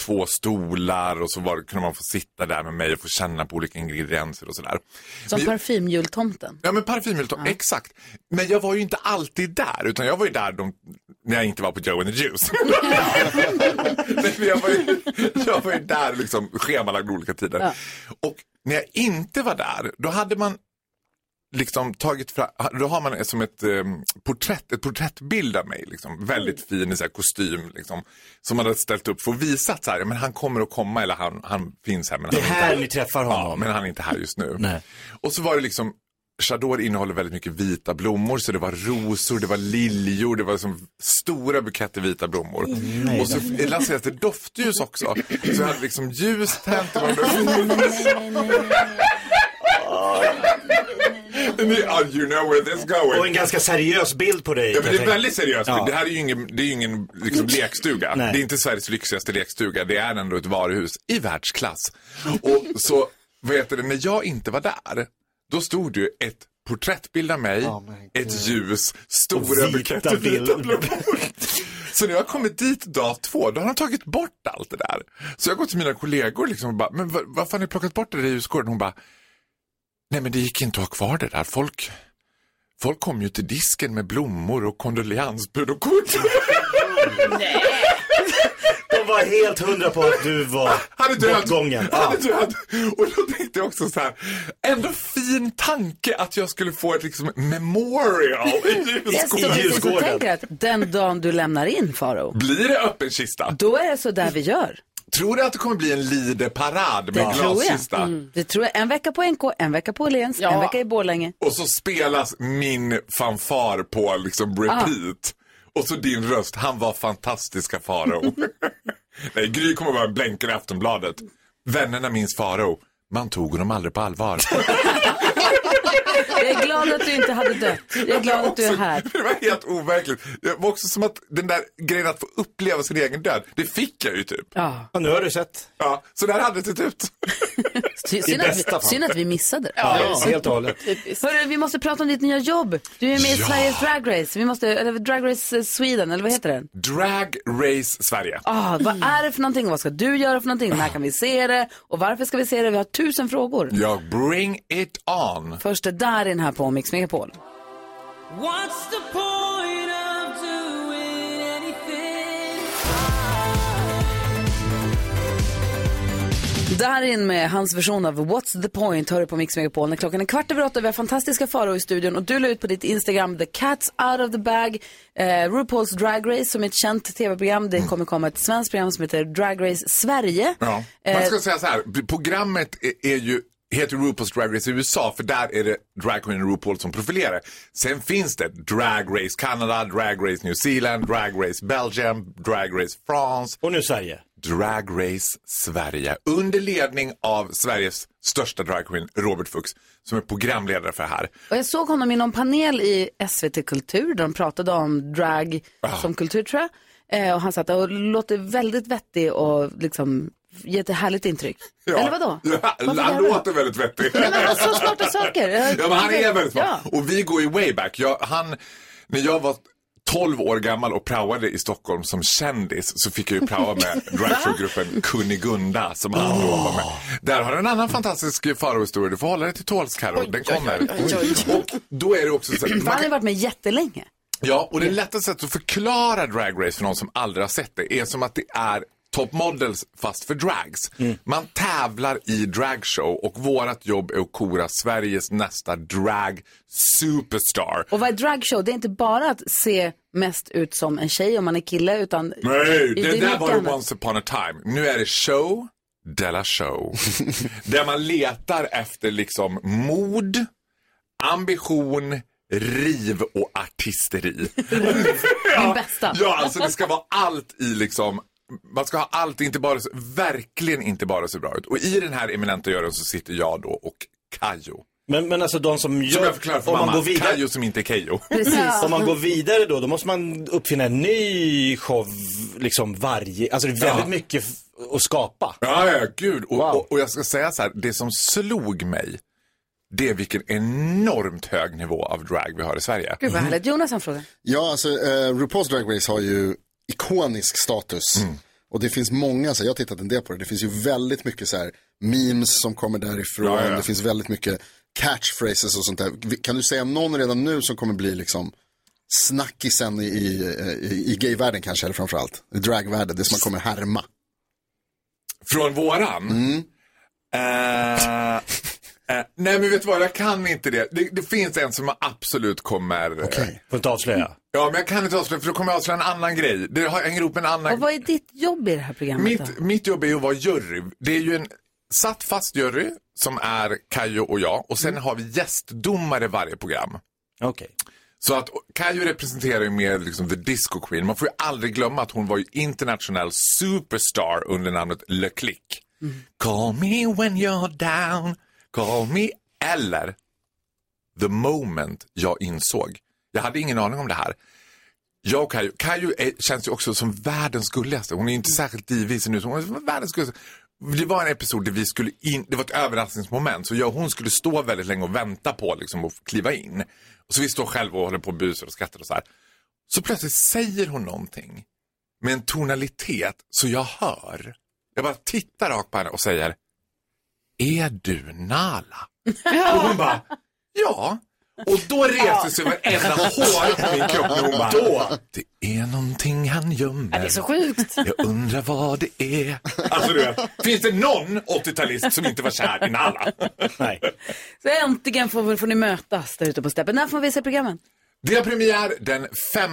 Speaker 24: två stolar och så var, kunde man få sitta där med mig och få känna på olika ingredienser och sådär.
Speaker 2: Som
Speaker 24: Men-
Speaker 2: parfymjultomten.
Speaker 24: Ja men parfymhyllan, exakt. Men jag var ju inte alltid där, utan jag var ju där de, när jag inte var på Joe and the Juice. Nej, men jag, var ju, jag var ju där liksom schemalagd olika tider. Och när jag inte var där, då hade man liksom tagit fram, då har man som ett eh, porträtt, ett porträttbild av mig liksom, väldigt fin i så här kostym liksom, som man hade ställt upp för att visa att så här, ja, men han kommer att komma eller han, han finns här men han
Speaker 3: Det här
Speaker 24: inte
Speaker 3: ni träffar honom.
Speaker 24: Ja, men han är inte här just nu. Och så var det liksom, Chador innehåller väldigt mycket vita blommor, så det var rosor, det var liljor, det var liksom stora buketter vita blommor.
Speaker 3: nej,
Speaker 24: och så
Speaker 3: nej.
Speaker 24: lanserades det doftljus också, så jag hade liksom ljus tänt. och man- Ja, You know where this going.
Speaker 3: Och en ganska seriös bild på dig.
Speaker 24: Ja, men det är
Speaker 3: jag tänker.
Speaker 24: väldigt seriöst.
Speaker 3: Ja.
Speaker 24: Det här är ju ingen, det är ju ingen liksom, lekstuga.
Speaker 3: Nej.
Speaker 24: Det är inte Sveriges lyxigaste lekstuga. Det är ändå ett varuhus i världsklass. Och så, vad heter det, när jag inte var där, Då stod det ju ett porträttbild av mig, ett ljus, stora
Speaker 3: vita
Speaker 24: buketter, vita
Speaker 3: bilder.
Speaker 24: blommor. Så när jag kommit dit dag två, då har de tagit bort allt det där. Så jag går till mina kollegor liksom och bara, men vad, varför har ni plockat bort det där i ljusgården? Hon bara, nej men det gick inte att ha kvar det där. Folk, folk kom ju till disken med blommor och kondoleansbud och kort.
Speaker 3: De var helt hundra på att du var
Speaker 24: Han är död.
Speaker 3: bortgången.
Speaker 24: Han
Speaker 3: Ja.
Speaker 24: är död. Och då tänkte jag också så här, ändå fin tanke att jag skulle få ett liksom memorial i
Speaker 2: Jag
Speaker 24: ljusgården.
Speaker 2: står precis och tänker att den dagen du lämnar in Faro,
Speaker 24: Blir det öppen kista?
Speaker 2: då är det så där vi gör.
Speaker 24: Tror du att det kommer bli en lideparad
Speaker 2: Det
Speaker 24: med
Speaker 2: tror
Speaker 24: glaskista?
Speaker 2: jag. Mm. Det tror jag. En vecka på NK, en vecka på Åhléns, en vecka i Borlänge.
Speaker 24: Och så spelas min fanfar på
Speaker 2: Ah.
Speaker 24: liksom repeat. Och så din röst, han var fantastiska Farao. Nej, Gry kommer bara blänka i Aftonbladet. Vännerna minns Farao. Man tog honom aldrig på allvar.
Speaker 2: Jag är glad att du inte hade dött. Jag är glad att du är här.
Speaker 24: Det var helt overkligt. Det var också som att den där grejen att få uppleva sin egen död, det fick jag ju typ.
Speaker 2: Ja.
Speaker 24: nu har du sett. Ja, så där hade det sett ut.
Speaker 2: Sy- Synd att, vi, synd att vi missade det. Hörru, vi måste prata om ditt nya jobb. Du är med i
Speaker 24: Ja.
Speaker 2: Sveriges Drag Race. Vi måste, eller Drag Race eh, Sweden, eller vad heter den?
Speaker 24: Drag Race Sverige.
Speaker 2: Ah, vad är det för någonting och vad ska du göra för någonting? När kan vi se det? Och varför ska vi se det? Vi har tusen frågor.
Speaker 24: Jag bring it on.
Speaker 2: Först är Darin här på Mix Megapol.
Speaker 10: What's the point of doing anything?
Speaker 2: Darin med hans version av What's the point hör du på Mix Megapol när klockan är kvart över åtta. Vi har fantastiska faror i studion och du la ut på ditt Instagram The Cats Out of the Bag, eh, RuPaul's Drag Race som är ett känt tv-program. Det kommer komma ett svenskt program som heter Drag Race Sverige.
Speaker 24: Ja.
Speaker 2: Eh,
Speaker 24: Man ska säga så här, b- programmet är, är ju, heter RuPaul's Drag Race i USA för där är det dragqueen RuPaul som profilerar. Sen finns det Drag Race Kanada, Drag Race New Zealand, Drag Race Belgium, Drag Race France.
Speaker 3: Och nu Sverige.
Speaker 24: Drag Race Sverige under ledning av Sveriges största dragqueen Robert Fuchs som är programledare för det här.
Speaker 2: Och jag såg honom i någon panel i SVT Kultur där de pratade om drag
Speaker 24: Ah.
Speaker 2: som kultur tror jag. Eh, och han satt där och låter väldigt vettig och liksom ger ett härligt intryck. Eller vadå?
Speaker 24: Ja,
Speaker 2: Varför
Speaker 24: han
Speaker 2: garvar du?
Speaker 24: låter väldigt vettig.
Speaker 2: Nej, men alltså, smarta saker. Jag-
Speaker 24: Ja, men han är väldigt smart.
Speaker 2: Ja.
Speaker 24: Och vi går ju way back. Jag, han, när jag var 12 år gammal och praoade i Stockholm som kändis så fick jag ju praoa med dragshowgruppen Kunigunda som han då var med. Där har du en annan fantastisk farohistoria. Du får hålla dig till tåls Carro, den kommer. Och då är det också så
Speaker 2: För han har ju varit med jättelänge.
Speaker 24: Ja, och det lättaste sättet att förklara Drag Race för någon som aldrig har sett det är som att det är Top Models fast för drags. Man tävlar i dragshow och vårt jobb är att kora Sveriges nästa drag superstar.
Speaker 2: Och vad är dragshow? Det är inte bara att se mest ut som en tjej om man är kille utan...
Speaker 24: Nej,
Speaker 2: det
Speaker 24: det, där
Speaker 2: är mycket
Speaker 24: var det
Speaker 2: annat.
Speaker 24: once upon a time. Nu är det show della show. där man letar efter liksom mod, ambition, riv och artisteri.
Speaker 2: Min bästa.
Speaker 24: Ja, alltså det ska vara allt i liksom man ska ha allt, inte bara, så- verkligen inte bara så bra ut. Och i den här eminenta juryn så sitter jag då och Kajo.
Speaker 3: Men, men alltså de som gör...
Speaker 24: Som jag förklarar för
Speaker 3: om
Speaker 24: mamma,
Speaker 3: man går vidare...
Speaker 24: Kajo som inte är Kejo.
Speaker 2: Precis.
Speaker 3: Om man går vidare då, då måste man uppfinna en ny show liksom varje... Alltså det är väldigt
Speaker 24: Ja.
Speaker 3: mycket f- att skapa.
Speaker 24: Ja, ja, gud. Och, och, och jag ska säga så här, det som slog mig, det är vilken enormt hög nivå av drag vi har i Sverige.
Speaker 2: Gud vad härligt. Jonas har en fråga.
Speaker 8: Ja, alltså eh, RuPaul's Drag Race har ju ikonisk status.
Speaker 24: Mm.
Speaker 8: Och det finns många, så här, jag har tittat en del på det, det finns ju väldigt mycket så här memes som kommer därifrån,
Speaker 24: Ja, ja, ja.
Speaker 8: det finns väldigt mycket catchphrases och sånt där. Vi- Kan du säga någon redan nu som kommer bli liksom snackisen i, i, i, i gayvärlden kanske, eller framförallt, i dragvärlden, det som man kommer härma.
Speaker 24: Från våran? Eh, eh, nej, men vet du vad, jag kan inte det. Det, det finns en som jag absolut kommer... Okej.
Speaker 3: Får inte avslöja.
Speaker 24: Ja, men jag kan inte avslöja, för då kommer jag avslöja en annan grej. Det har- hänger ihop med en annan
Speaker 2: Och vad är ditt jobb i det här programmet då?
Speaker 24: mitt, mitt jobb är ju att vara jury. Det är ju en satt fast jury som är Kajo och jag och sen har vi gästdomare varje program.
Speaker 3: Okej.
Speaker 24: Så att och Kajo representerar ju mer liksom the disco queen. Man får ju aldrig glömma att hon var ju internationell superstar under namnet Le Click. Call me when you're down, call me eller the moment jag insåg. Jag hade ingen aning om det här. Jag och Kajo, Kajo är, känns ju också som världens gulligaste. Hon är ju inte särskilt divig i sin ut- hon är som världens gulligaste. Det var en episod där vi skulle in, det var ett överraskningsmoment. Så jag och hon skulle stå väldigt länge och vänta på liksom, att kliva in. Och så vi står själva och håller på och busar och skrattar och så här. Så plötsligt säger hon någonting med en tonalitet så jag hör. Jag bara tittar rakt på henne och säger Är du Nala? Och hon bara Ja. Och då reser sig varenda hår på min kropp när hon bara Då. Det är någonting han gömmer.
Speaker 4: Ja, det är så sjukt.
Speaker 24: Jag undrar vad det är. Alltså du vet, finns det någon 80-talist som inte var kär i Nalla? Nej.
Speaker 2: Så äntligen får, får ni mötas där ute på steppen. När får vi se programmen?
Speaker 24: Det har premiär den 5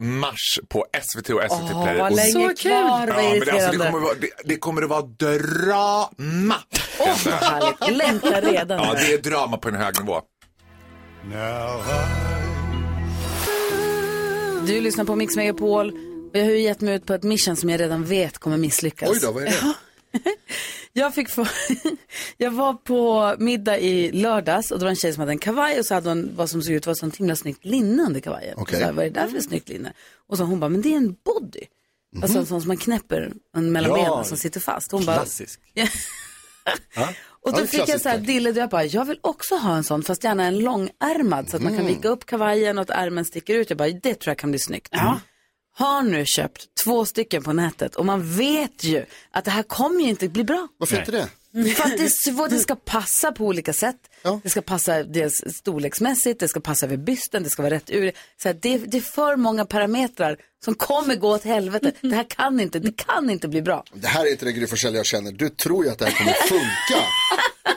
Speaker 24: mars på SVT och SVT
Speaker 2: Åh,
Speaker 24: Play.
Speaker 2: vad
Speaker 24: Och-
Speaker 2: länge Så kul. kvar,
Speaker 24: typ
Speaker 2: vad
Speaker 24: Ja, men det, alltså, det,
Speaker 2: irriterande.
Speaker 24: kommer vara, det, det kommer att vara drama. Åh,
Speaker 2: vad härligt. Jag längtar redan.
Speaker 24: Ja, det är drama på en hög nivå.
Speaker 2: Du lyssnar på Mix Megapol. Jag har ju gett mig ut på ett mission som jag redan vet kommer misslyckas.
Speaker 8: Oj då, vad är det?
Speaker 2: Ja. Jag, fick få... jag var på middag i lördags och det var en tjej som hade en kavaj och så hade hon vad som såg ut var sånt himla snyggt linne under kavajen.
Speaker 8: Okej.
Speaker 2: Så här, vad är det där för snyggt linne? Och så hon bara, men det är en body.
Speaker 24: Mhm.
Speaker 2: Alltså en sån som man knäpper en mellan
Speaker 8: Ja.
Speaker 2: benen som sitter fast. Hon bara,
Speaker 8: Klassisk.
Speaker 2: och då fick jag så här dille och jag bara, jag vill också ha en sån fast gärna en långärmad så att man kan
Speaker 9: Mm.
Speaker 2: vika upp kavajen och att ärmen sticker ut. Jag bara, det tror jag kan bli snyggt. Har nu köpt två stycken på nätet och man vet ju att det här kommer ju inte bli bra.
Speaker 8: Varför Nej. inte
Speaker 2: det? För att det är svårt, det ska passa på olika sätt. Det ska passa dels storleksmässigt, det ska passa över bysten, det ska vara rätt ur. Så här, det, det är för många parametrar som kommer gå åt helvete. Det här kan inte, det kan inte bli bra.
Speaker 8: Det här är inte det Gry Forssell jag känner. Du tror ju att det här kommer funka.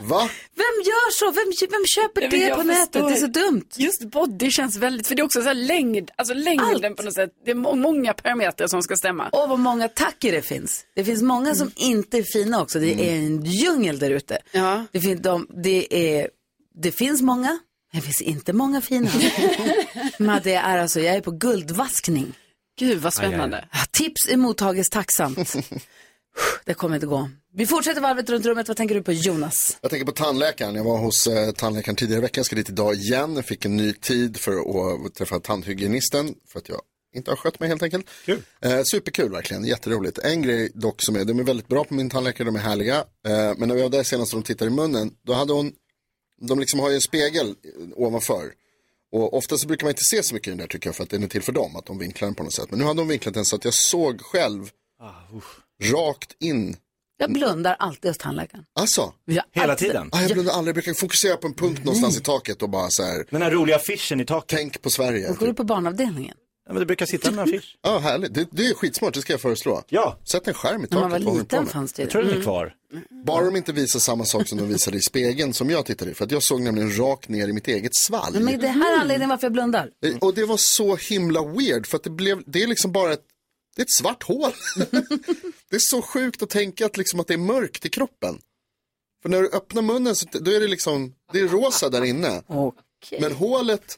Speaker 8: Va?
Speaker 2: Vem gör så? Vem, vem köper
Speaker 4: Nej, men
Speaker 2: det
Speaker 4: jag
Speaker 2: på nätet?
Speaker 4: förstår.
Speaker 2: Det är så dumt.
Speaker 4: Just body känns väldigt, för det är också så här längd, alltså längden på något sätt. Det är må- många parametrar som ska stämma. Mm.
Speaker 2: Och vad många tacker det finns. Det finns många som inte är fina också. Det är en djungel där ute. Det, fin- de, det, är- det finns många, men det finns inte många fina. men det är alltså, jag är på guldvaskning.
Speaker 4: Gud vad spännande. Aj,
Speaker 2: Ja, Tips är mottages tacksamt. det kommer inte gå. Vi fortsätter varvet runt rummet. Vad tänker du på Jonas?
Speaker 8: Jag tänker på tandläkaren. Jag var hos eh, tandläkaren tidigare i veckan. Jag ska dit idag igen. Jag fick en ny tid för att träffa tandhygienisten. För att jag inte har skött mig helt enkelt. Eh, superkul verkligen. Jätteroligt. En grej dock som är, de är väldigt bra på min tandläkare. De är härliga. Eh, men när vi var där senast och de tittade i munnen. Då hade hon, de liksom har ju en spegel eh, ovanför. Och ofta så brukar man inte se så mycket i den där tycker jag. För att den är till för dem. Att de vinklar den på något sätt. Men nu hade de vinklat den så att jag såg själv. rakt in.
Speaker 2: Jag blundar alltid hos tandläkaren.
Speaker 8: Alltså?
Speaker 3: Hela tiden?
Speaker 8: Ah, jag blundar aldrig, jag brukar fokusera på en punkt någonstans i taket och bara så här.
Speaker 3: Den här roliga affischen i taket.
Speaker 8: Tänk på Sverige.
Speaker 2: Då går du på barnavdelningen.
Speaker 8: Ja, men det brukar sitta en affisch. Ja, härligt. Det, det är skitsmart, det ska jag föreslå. Ja. Sätt en skärm i taket.
Speaker 2: När man var
Speaker 8: vad håller du på
Speaker 2: liten
Speaker 8: med?
Speaker 2: fanns det ju Jag tror den är Mm. kvar.
Speaker 8: Bara de inte visar samma sak som de visade i spegeln som jag tittade i. För att jag såg nämligen rakt ner i mitt eget svalg.
Speaker 2: Men det här
Speaker 3: Mm.
Speaker 2: är anledningen varför jag blundar.
Speaker 8: Eh, Och det var så himla weird för att det blev, det är liksom bara ett, det är ett svart hål. det är så sjukt att tänka att, liksom att det är mörkt i kroppen. För när du öppnar munnen så då är det liksom, det är rosa där inne. Men hålet,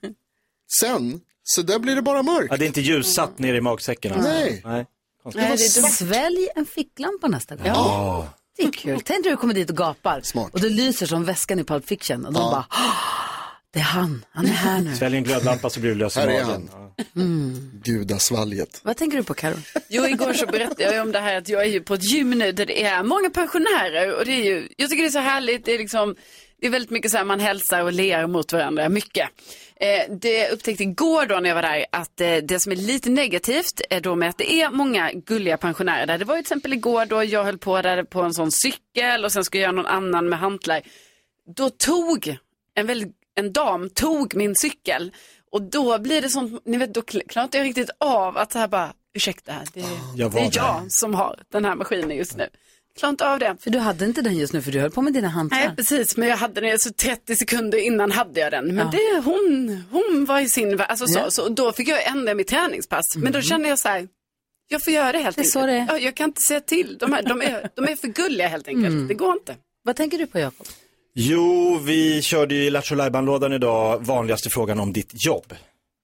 Speaker 8: sen, så där blir det bara mörkt.
Speaker 3: Ja, det är inte ljussatt nere i magsäcken. Alltså.
Speaker 8: Nej.
Speaker 3: Nej.
Speaker 8: Det var
Speaker 2: Nej, det är dumt. Svälj en ficklampa nästa gång.
Speaker 3: Ja.
Speaker 2: Det är kul. Tänk när du kommer dit och gapar. Och det lyser som väskan i Pulp Fiction. Och de bara, "Ah, det är han. Han är här nu.
Speaker 3: Svälj en glödlampa så blir du lös i
Speaker 8: Här är
Speaker 3: magen.
Speaker 2: Mm.
Speaker 8: Gudasvalget.
Speaker 2: Vad tänker du på Karo?
Speaker 4: Jo, igår så berättade jag ju om det här att jag är ju på ett gym nu där det är många pensionärer och det är ju, jag tycker det är så härligt, det är liksom, det är väldigt mycket så här man hälsar och ler mot varandra, mycket. Eh, det jag upptäckte igår då när jag var där att eh, det som är lite negativt är då med att det är många gulliga pensionärer där. Det var ju till exempel igår då jag höll på där på en sån cykel och sen skulle jag göra någon annan med hantlar. Då tog en, väldigt, en dam tog min cykel och då blir det sånt, ni vet, då kl- klarar inte jag riktigt av att så här bara, ursäkta, det är
Speaker 2: Jag
Speaker 4: det
Speaker 2: var
Speaker 4: är
Speaker 2: där.
Speaker 4: jag som har den här maskinen just nu. Klarar inte av det.
Speaker 2: För du hade inte den just nu för du höll på med dina hantlar.
Speaker 4: Nej, precis, men jag hade den, så 30 sekunder innan hade jag den. Men det, hon, hon var i sin värld, alltså så,
Speaker 2: Ja.
Speaker 4: så och då fick jag ändra mitt träningspass. Men då
Speaker 2: Mm.
Speaker 4: kände jag så här, jag får göra det helt
Speaker 2: Det är
Speaker 4: enkelt.
Speaker 2: så det är.
Speaker 4: Ja, jag kan inte säga till, de, här, de, är, de är för gulliga helt enkelt,
Speaker 3: Mm.
Speaker 4: det går inte.
Speaker 2: Vad tänker du på Jakob?
Speaker 3: Jo, vi körde ju i Lattjo Lajban-lådan idag vanligaste frågan om ditt jobb.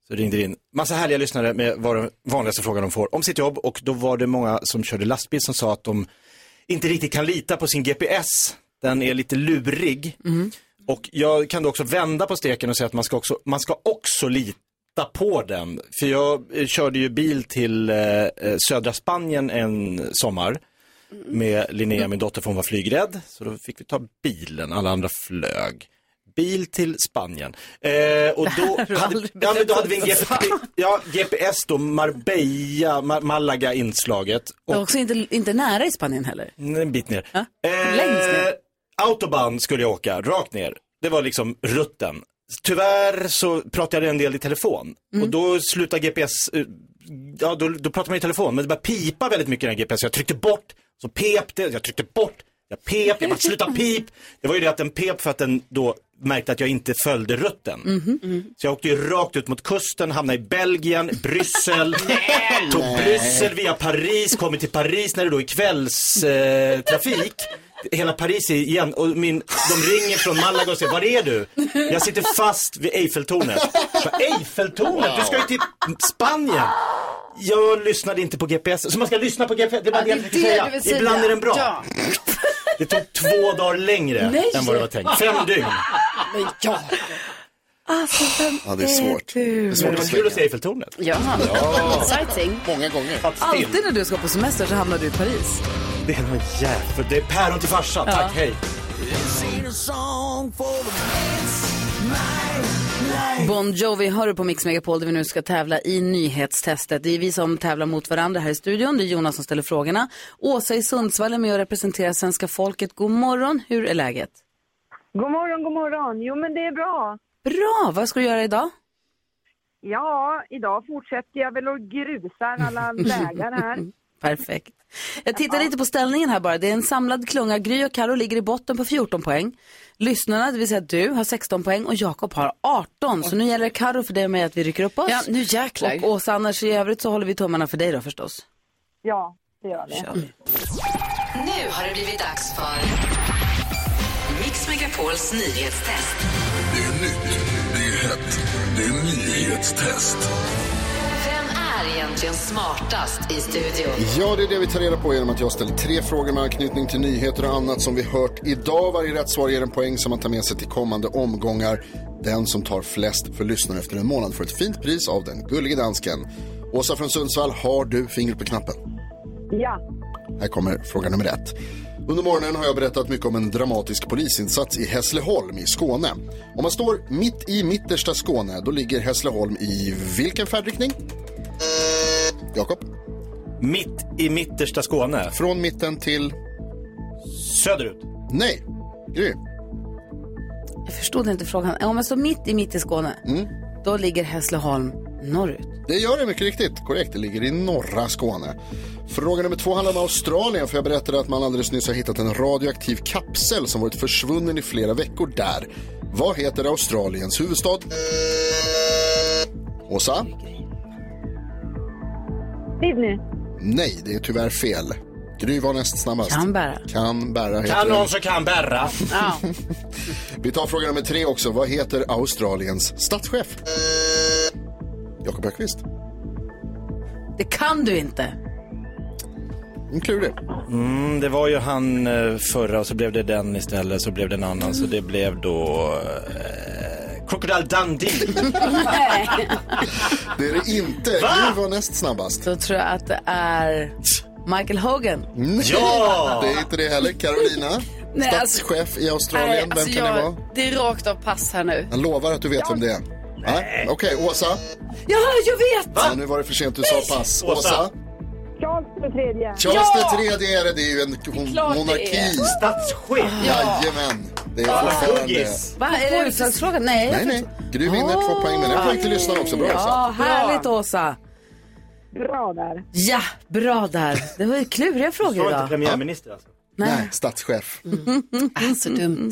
Speaker 3: Så ringde det in massa härliga lyssnare med vad den vanligaste frågan de får om sitt jobb och då var det många som körde lastbil som sa att de inte riktigt kan lita på sin GPS. Den är lite lurig. Och jag kan då också vända på steken och säga att man ska också, man ska också lita på den. För jag eh, körde ju bil till eh, eh, södra Spanien en sommar. med Linnea, min dotter, för hon var flygrädd. Så då fick vi ta bilen, alla andra flög. Bil till Spanien. Eh, och då hade, ja, men då hade vi en GP, ja, GPS då, Marbella, Ma- Malaga-inslaget.
Speaker 9: Det var också inte, inte nära i Spanien heller.
Speaker 3: En bit ner. Eh,
Speaker 9: Längst ner.
Speaker 3: Autobahn skulle jag åka, rakt ner. Det var liksom rutten. Tyvärr så pratade jag en del i telefon och då slutade GPS, eh, ja då, då pratade man i telefon men det började pipa väldigt mycket i den här GPS. Jag tryckte bort, så pep det, jag tryckte bort, jag pep, jag bara sluta pip. Det var ju det att den pep för att den då märkte att jag inte följde rutten. Så jag åkte ju rakt ut mot kusten, hamnade i Belgien, Bryssel, tog Bryssel via Paris, kommer till Paris när det då är kvällstrafik. Eh, trafik. Hela Paris är igen och min, de ringer från Malaga och säger, var är du? Jag sitter fast vid Eiffeltornet. Så, Eiffeltornet, du ska ju till Spanien. Jag lyssnade inte på GPS, så man ska lyssna på GPS, det var
Speaker 4: Ja,
Speaker 3: det jag
Speaker 4: det är
Speaker 3: försökte
Speaker 4: det
Speaker 3: säga.
Speaker 4: du vill säga.
Speaker 3: Ibland är den bra.
Speaker 4: Ja.
Speaker 3: Det tog två dagar längre
Speaker 4: Nej.
Speaker 3: än vad det var tänkt. Fem dygn.
Speaker 4: Men ja.
Speaker 9: Alltså, vem
Speaker 3: Ja, det är svårt.
Speaker 9: du?
Speaker 3: Men det var kul att se Eiffeltornet.
Speaker 4: Ja.
Speaker 3: Ja.
Speaker 4: Exciting.
Speaker 8: Många gånger.
Speaker 9: Alltid när du ska på semester så hamnar du i Paris.
Speaker 3: Det är någon jävel. Det är päron till farsan.
Speaker 9: Ja.
Speaker 3: Tack, hej.
Speaker 2: Bon Jovi hör du på Mix Megapol där vi nu ska tävla i nyhetstestet. Det är vi som tävlar mot varandra här i studion. Det är Jonas som ställer frågorna. Åsa i Sundsvall är med och representerar svenska folket. God morgon, hur är läget?
Speaker 6: God morgon, god morgon. Jo, men det är bra.
Speaker 2: Bra, vad ska du göra idag?
Speaker 6: Ja, idag fortsätter jag väl och grusar alla vägar här.
Speaker 2: Perfekt. Jag tittar lite på ställningen här bara. Det är en samlad klunga. Gry och Karo ligger i botten på 14 poäng. Lyssnarna, det vill säga du, har 16 poäng och Jakob har 18. Så nu gäller det Karo för dig och mig att vi rycker upp oss.
Speaker 4: Ja, nu jäklar.
Speaker 2: Och Åsa, annars i övrigt så håller vi tummarna för dig då förstås.
Speaker 6: Ja, det gör
Speaker 2: Kör
Speaker 6: vi.
Speaker 2: vi.
Speaker 12: Nu har det blivit dags för Mix Megapols nyhetstest.
Speaker 25: Det är nytt, det är hett, det är nyhetstest.
Speaker 12: Vem är egentligen smartast i studion?
Speaker 8: Ja, det är det vi tar reda på genom att jag ställer tre frågor med anknytning till nyheter och annat som vi hört idag. Varje rätt svar ger en poäng som man tar med sig till kommande omgångar. Den som tar flest för lyssnare efter en månad får ett fint pris av den gullige dansken. Åsa från Sundsvall, har du fingret på knappen?
Speaker 6: Ja,
Speaker 8: Här kommer fråga nummer ett. Under morgonen har jag berättat mycket om en dramatisk polisinsats i Hässleholm i Skåne. Om man står mitt i mittersta Skåne, då ligger Hässleholm i vilken färdriktning? Jakob?
Speaker 3: Mitt i mittersta Skåne.
Speaker 8: Från mitten till?
Speaker 3: Söderut.
Speaker 8: Nej. Gry?
Speaker 2: Jag förstod inte frågan. Om jag står mitt i mitt i Skåne,
Speaker 8: Mm.
Speaker 2: då ligger Hässleholm norrut.
Speaker 8: Det gör det mycket riktigt. Korrekt, det ligger i norra Skåne. Fråga nummer två handlar om Australien, för jag berättade att man alldeles nyss har hittat en radioaktiv kapsel som varit försvunnen i flera veckor där. Vad heter Australiens huvudstad? Åsa?
Speaker 6: Sydney.
Speaker 8: Nej, det är tyvärr fel. Gry var näst snabbast.
Speaker 2: Canberra.
Speaker 8: Canberra heter
Speaker 3: Kan
Speaker 8: den.
Speaker 3: någon så kan bära.
Speaker 8: Vi tar fråga nummer tre också. Vad heter Australiens statschef? Jakob Öqvist.
Speaker 2: Det kan du inte.
Speaker 8: En klurig.
Speaker 3: Mm, det var ju han eh, förra och så blev det den istället så blev det en annan så det blev då eh, Crocodile Dundee.
Speaker 8: Det är det inte. Gry var näst snabbast.
Speaker 2: Då tror jag att det är Michael Hogan.
Speaker 4: Ja!
Speaker 8: Det är inte det heller. Carolina,
Speaker 4: Nej, alltså-
Speaker 8: statschef i Australien. Vem
Speaker 4: alltså
Speaker 8: kan det vara?
Speaker 4: Det är rakt av pass här nu.
Speaker 8: Jag lovar att du vet vem det är. Nej. Okej, Åsa.
Speaker 4: Ja, jag vet!
Speaker 8: Ja, nu var det för sent du sa pass.
Speaker 3: Åsa.
Speaker 8: Åsa.
Speaker 6: Charles den tredje.
Speaker 8: Charles den tredje är det. Det är ju en
Speaker 6: klart det
Speaker 8: monarki.
Speaker 6: är.
Speaker 3: Statschef.
Speaker 6: Ja.
Speaker 8: Jajamän. Det är
Speaker 3: Ja.
Speaker 8: fortfarande...
Speaker 3: Huggis.
Speaker 2: Va, är det utslagsfrågan? Nej.
Speaker 8: Nej, nej. Gry vinner två poäng med den. Poäng till lyssnarna också. Bra,
Speaker 2: Ja,
Speaker 8: Åsa.
Speaker 2: härligt Åsa.
Speaker 6: Bra där.
Speaker 2: Ja, bra där. Det var ju kluriga frågor
Speaker 3: Var inte
Speaker 2: idag.
Speaker 3: premiärminister alltså?
Speaker 8: Nej, statschef.
Speaker 2: Så dumt. Mm,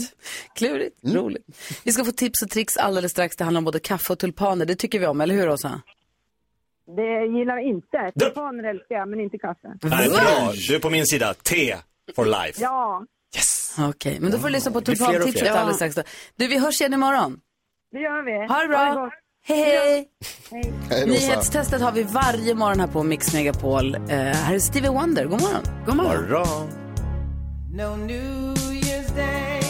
Speaker 2: Klurigt,
Speaker 3: Mm.
Speaker 2: roligt. Vi ska få tips och tricks alldeles strax. Det handlar om både kaffe och tulpaner. Det tycker vi om, eller hur Åsa?
Speaker 6: Det gillar jag inte. Tulpaner älskar jag, men inte kaffe.
Speaker 3: Nej, bra. Du är på min sida. T for life.
Speaker 6: Ja,
Speaker 2: Okej, men då får du lyssna på
Speaker 3: Det blir fler och fler.
Speaker 2: tulpantipset
Speaker 3: Ja.
Speaker 2: alldeles strax. Då. Du, vi hörs igen imorgon.
Speaker 6: det gör vi.
Speaker 2: Ha det bra.
Speaker 6: gott.
Speaker 2: Hej, hej.
Speaker 8: Hej, Åsa.
Speaker 2: Nyhetstestet har vi varje morgon här på Mix Megapol. Eh, här är Stevie Wonder. God morgon. God
Speaker 3: morgon.
Speaker 10: No New Year's Day.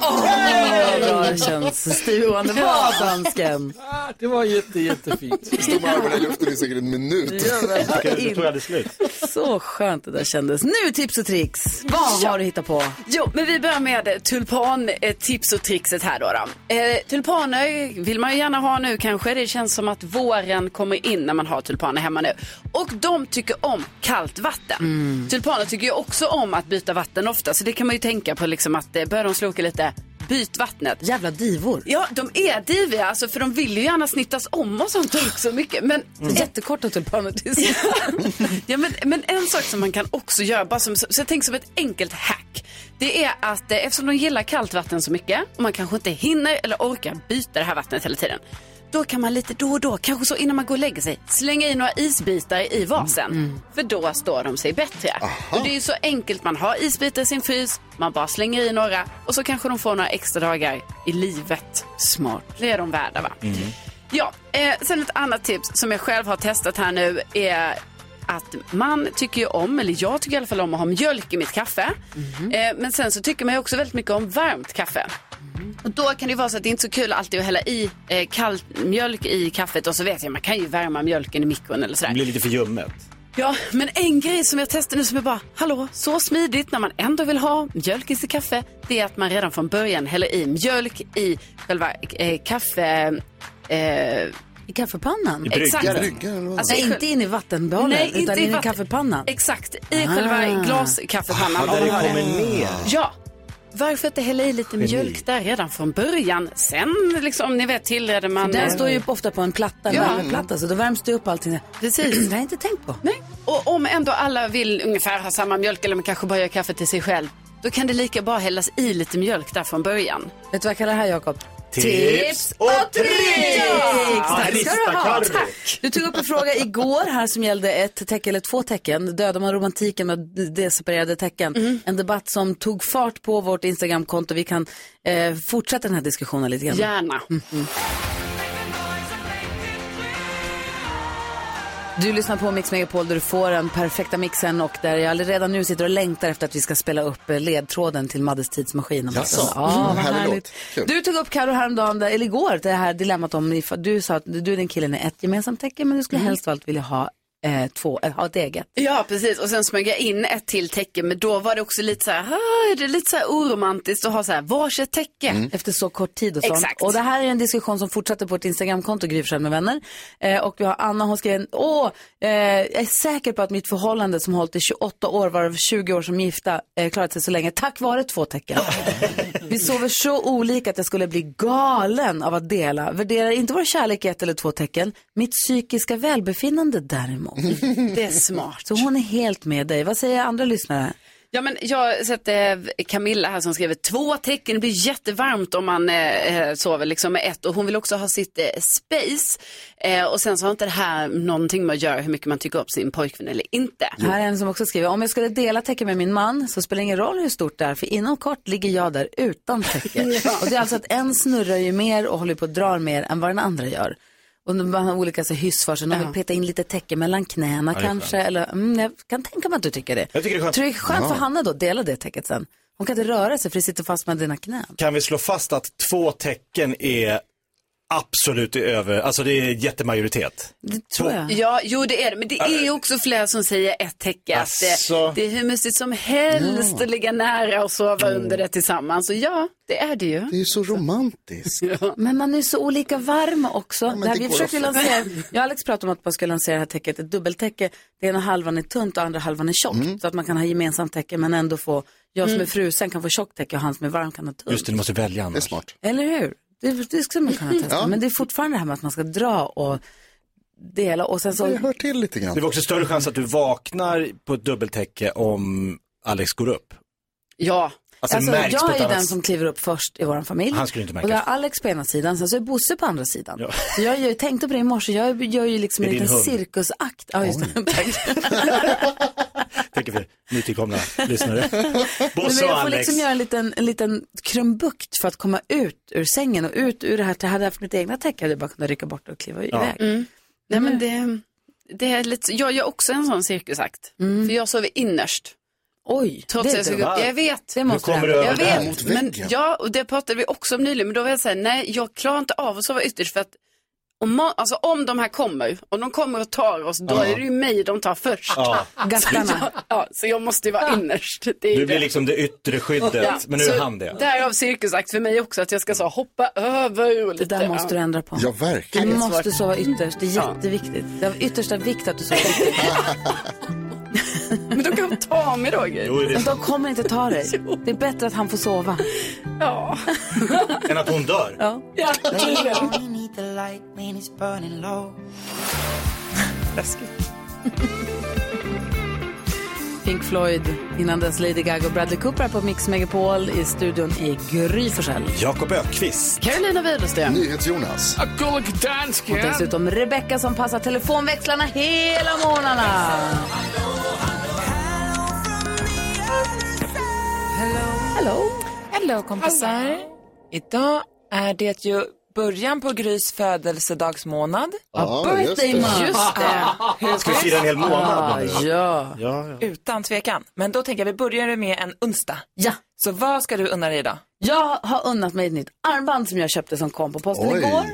Speaker 2: Åh, vad bra det känns. Steve Johan, det var dansken.
Speaker 7: Det var jätte, jättefint.
Speaker 8: Stod med armarna i luften i säkert en minut.
Speaker 2: Det tog
Speaker 3: aldrig slut.
Speaker 2: Så skönt det där kändes. Nu tips och tricks. Vad har du hittat på?
Speaker 4: Jo, men vi börjar med tulpantips och trixet här då. då. Eh, tulpaner vill man ju gärna ha nu kanske. Det känns som att våren kommer in när man har tulpaner hemma nu. Och de tycker om kallt vatten.
Speaker 2: Mm.
Speaker 4: Tulpaner tycker ju också om att byta vatten ofta. Så det kan man ju tänka på liksom att eh, börjar de sloka lite, byt vattnet.
Speaker 2: Jävla divor.
Speaker 4: Ja, de är diviga alltså, för de vill ju gärna snittas om och sånt också mycket. Men
Speaker 2: Jättekorta tulpaner till
Speaker 4: Ja, men, men en sak som man kan också göra, bara som, så jag tänker som ett enkelt hack. Det är att eh, eftersom de gillar kallt vatten så mycket och man kanske inte hinner eller orkar byta det här vattnet hela tiden. Då kan man lite då och då, kanske så innan man går och lägger sig, slänga i några isbitar i vasen. För då står de sig bättre. Och det är ju så enkelt, man har isbitar i sin frys, man bara slänger i några och så kanske de får några extra dagar i livet. Smart. Det är de värda va? Ja, eh, sen ett annat tips som jag själv har testat här nu är att man tycker ju om, eller jag tycker i alla fall om att ha mjölk i mitt kaffe. Eh, men sen så tycker man ju också väldigt mycket om varmt kaffe. Och då kan det ju vara så att det är inte så kul alltid att hälla i eh, kall mjölk i kaffet och så vet jag, man kan ju värma mjölken i mikron eller sådär.
Speaker 3: Det blir lite för ljummet.
Speaker 4: Ja, men en grej som jag testar nu som är bara, hallå, så smidigt när man ändå vill ha mjölk i sitt kaffe, det är att man redan från början häller i mjölk i själva eh, kaffe... Eh,
Speaker 2: I kaffepannan?
Speaker 4: I bryggaren. Exakt.
Speaker 2: Alltså,
Speaker 4: Nej,
Speaker 2: inte in i vattenbehållaren,
Speaker 4: Nej, inte
Speaker 2: utan
Speaker 4: i
Speaker 2: in i
Speaker 4: vatten-
Speaker 2: kaffepannan.
Speaker 4: Exakt, i själva glaskaffepannan.
Speaker 2: Ah, där det
Speaker 4: Om man har
Speaker 2: kommer ner.
Speaker 4: Ja. Varför inte hälla i lite
Speaker 2: Geni.
Speaker 4: mjölk där redan från början? Sen, liksom, ni vet, tillreder man...
Speaker 2: Den står ju ofta på en platta, en
Speaker 4: Ja.
Speaker 2: värmeplatta, så då värms det upp allting.
Speaker 4: Precis.
Speaker 2: Det har jag inte tänkt på.
Speaker 4: Nej. Och om ändå alla vill ungefär ha samma mjölk eller man kanske bara gör kaffe till sig själv, då kan det lika bra hällas i lite mjölk där från början.
Speaker 2: Vet du vad jag kallar det här, Jakob?
Speaker 4: Tips
Speaker 2: och tricks!
Speaker 4: Ja,
Speaker 2: Tack ska du ha.
Speaker 4: ristakarri.
Speaker 2: Tack. Du tog upp en fråga igår här som gällde ett tecken eller två tecken. Dödar man romantiken med deseparerade tecken?
Speaker 4: Mm.
Speaker 2: En debatt som tog fart på vårt Instagramkonto. Vi kan eh, fortsätta den här diskussionen lite grann.
Speaker 4: Gärna.
Speaker 2: Du lyssnar på Mix Megapol där du får den perfekta mixen och där jag redan nu sitter och längtar efter att vi ska spela upp eh, ledtråden till Maddes tidsmaskin. om en
Speaker 8: Jaså?
Speaker 2: stund. Ja, vad
Speaker 8: Mm, härlig
Speaker 2: härligt.
Speaker 8: låt. Kul.
Speaker 2: Du tog upp Karo häromdagen, där- eller igår, det här dilemmat om ifall- du sa att du och din kille är ett gemensamt tecken men du skulle helst av allt vilja ha eh, två, eh, ha ett eget.
Speaker 4: Mm. Ja, precis. Och sen smög jag in ett till täcke, men då var det också lite så här, "Ah, är det lite så här oromantiskt att ha så här varsitt täcke.
Speaker 2: Mm. Efter så kort tid och sånt.
Speaker 4: Exakt.
Speaker 2: Och det här är en diskussion som fortsätter på vårt Instagramkonto, Gry Forssell med vänner. Eh, och vi har Anna, hon skrev, åh, eh, jag är säker på att mitt förhållande som hållit i 28 år, varav 20 år som gifta, eh, klarat sig så länge tack vare två tecken. vi sover så olika att jag skulle bli galen av att dela. Värderar inte vår kärlek i ett eller två tecken, mitt psykiska välbefinnande däremot.
Speaker 4: Det är smart.
Speaker 2: Så hon är helt med dig. Vad säger andra lyssnare?
Speaker 4: Ja, men jag sätter eh, Camilla här som skriver två tecken. Det blir jättevarmt om man eh, eh, sover liksom med ett och hon vill också ha sitt eh, space. Eh, och sen så har inte det här någonting med att göra hur mycket man tycker om sin pojkvän eller inte.
Speaker 2: Här är en som också skriver, om jag skulle dela täcke med min man så spelar det ingen roll hur stort det är för inom kort ligger jag där utan täcke.
Speaker 4: Ja.
Speaker 2: Och det är alltså att en snurrar ju mer och håller på att dra mer än vad den andra gör. Och man har olika så, hyss för sig, någon vill peta in lite täcke mellan knäna
Speaker 9: Ja, det är
Speaker 2: kanske.
Speaker 9: skönt.
Speaker 2: Eller, mm, jag kan tänka mig att du tycker det.
Speaker 3: Jag tycker det är skönt.
Speaker 2: Tror du det är skönt
Speaker 3: Ja.
Speaker 2: för Hanna då, dela det täcket sen. Hon kan inte röra sig för det sitter fast med dina knän.
Speaker 3: Kan vi slå fast att två tecken är absolut i över, alltså det är jättemajoritet.
Speaker 2: Det tror jag.
Speaker 4: Ja, jo det är det. Men det är ju också flera som säger ett täcke. Att
Speaker 3: Alltså.
Speaker 4: det, det är hur mysigt som helst att ligga nära och sova under det tillsammans. Och ja, det är det ju.
Speaker 8: Det är ju så romantiskt.
Speaker 2: Men man är så olika varm också. det här,
Speaker 8: det
Speaker 2: vi
Speaker 8: går
Speaker 2: försöker
Speaker 8: ofta.
Speaker 2: lansera, jag och Alex pratade om att man ska lansera det här täcket, ett dubbeltäcke. Det ena halvan är tunt och andra halvan är tjockt.
Speaker 8: Mm.
Speaker 2: Så att man kan ha gemensamt täcke men ändå få, jag som är
Speaker 3: Mm.
Speaker 2: frusen kan få tjockt täcke och han som är varm kan ha tunt.
Speaker 3: Just det, du måste välja annars. Det är smart.
Speaker 2: Eller hur? Det, det skulle man kunna testa.
Speaker 3: Ja.
Speaker 2: Men det är fortfarande det här med att man ska dra och dela och sen så...
Speaker 8: till lite
Speaker 3: Det var också större chans att du vaknar på ett dubbeltäcke om Alex går upp.
Speaker 4: Ja.
Speaker 3: Alltså,
Speaker 2: Alltså,
Speaker 3: märks på
Speaker 2: jag
Speaker 3: ett
Speaker 2: är ju
Speaker 3: annat
Speaker 2: den
Speaker 3: sätt.
Speaker 2: som kliver upp först i vår familj.
Speaker 3: Han skulle inte märka
Speaker 2: Och då är Alex på ena sidan, sen så är Bosse på andra sidan. Så jag, jag tänkte på det i morse, jag gör ju liksom
Speaker 3: Med
Speaker 2: en
Speaker 3: din
Speaker 2: liten
Speaker 3: hund.
Speaker 2: cirkusakt. Ja, just det.
Speaker 3: Tänker för nytillkomna lyssnare.
Speaker 2: Nej,
Speaker 3: Bosse
Speaker 2: men
Speaker 3: och
Speaker 2: jag får
Speaker 3: Alex.
Speaker 2: liksom göra en liten, en liten krumbukt för att komma ut ur sängen och ut ur det här. Jag hade jag haft mitt egna täcke hade jag bara kunnat rycka bort och kliva iväg.
Speaker 4: Mm. Nej, men det, det är lite, jag gör också en sån cirkusakt. För jag sover innerst.
Speaker 2: Oj, det
Speaker 7: Trots att jag
Speaker 2: är
Speaker 7: såg upp.
Speaker 2: dumt.
Speaker 7: Jag vet.
Speaker 2: Det måste det vara.
Speaker 7: jag vet. Men, ja, och det pratade vi också om nyligen. Men då var jag såhär, nej jag klarar inte av att sova ytterst för att om, ma- alltså, om de här kommer, om de kommer och tar oss, då
Speaker 3: Ja.
Speaker 7: är det ju mig de tar först.
Speaker 3: Ja.
Speaker 7: Så, jag, ja, så jag måste ju vara innerst. Det är ju
Speaker 3: Du blir
Speaker 7: det.
Speaker 3: liksom det yttre skyddet,
Speaker 7: Ja,
Speaker 3: men nu är
Speaker 7: så
Speaker 3: han det.
Speaker 7: Därav cirkusakt för mig också, att jag ska så hoppa över och lite.
Speaker 26: Det där måste du ändra på.
Speaker 8: Ja, verkligen.
Speaker 26: Du
Speaker 7: Nej, det är
Speaker 26: måste
Speaker 7: svårt.
Speaker 26: sova ytterst. Det är jätteviktigt. Det är av yttersta vikt att du sover ytterst.
Speaker 7: Men då kan de ta mig Roger.
Speaker 3: Jo, det är
Speaker 26: Men de
Speaker 3: sant.
Speaker 26: kommer inte ta dig. Det är bättre att han får sova.
Speaker 7: Ja.
Speaker 3: Än att hon dör.
Speaker 26: Ja.
Speaker 7: Ja,
Speaker 26: tydligen.
Speaker 2: Pink Floyd, innan dess Lady Gaga och Bradley Cooper här på Mix Megapol i studion i Gry Forssell.
Speaker 3: Jakob Ökvist.
Speaker 7: Carolina Widersten.
Speaker 8: NyhetsJonas.
Speaker 27: Gullig dansk.
Speaker 2: Och dessutom Rebecca som passar telefonväxlarna hela morgnarna. Hello.
Speaker 28: Hello kompisar. Idag är det ju början på Grys födelsedagsmånad.
Speaker 2: Ja, birthday just det. month. Just det.
Speaker 28: Hur
Speaker 2: Ska vi fira en hel månad nu? Ah, ja.
Speaker 28: Utan tvekan. Men då tänker jag, vi börjar med en onsdag.
Speaker 2: Ja.
Speaker 28: Så vad ska du unna dig idag?
Speaker 2: Jag har unnat mig ett nytt armband som jag köpte som kom på posten
Speaker 28: Oj.
Speaker 2: igår.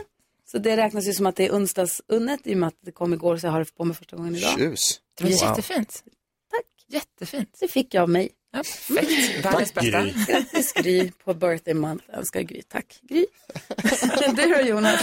Speaker 2: Så det räknas ju som att det är onsdagsunnet i och med att det kom igår så jag har det på mig första gången idag.
Speaker 8: Tjus.
Speaker 28: Det var
Speaker 2: Wow.
Speaker 28: jättefint. Tack. Jättefint.
Speaker 2: Det fick jag av mig.
Speaker 28: Ja, perfekt. Världens bästa.
Speaker 2: Grattis Gry på birthday month. Jag önskar Gry. Tack Gry. du då Jonas?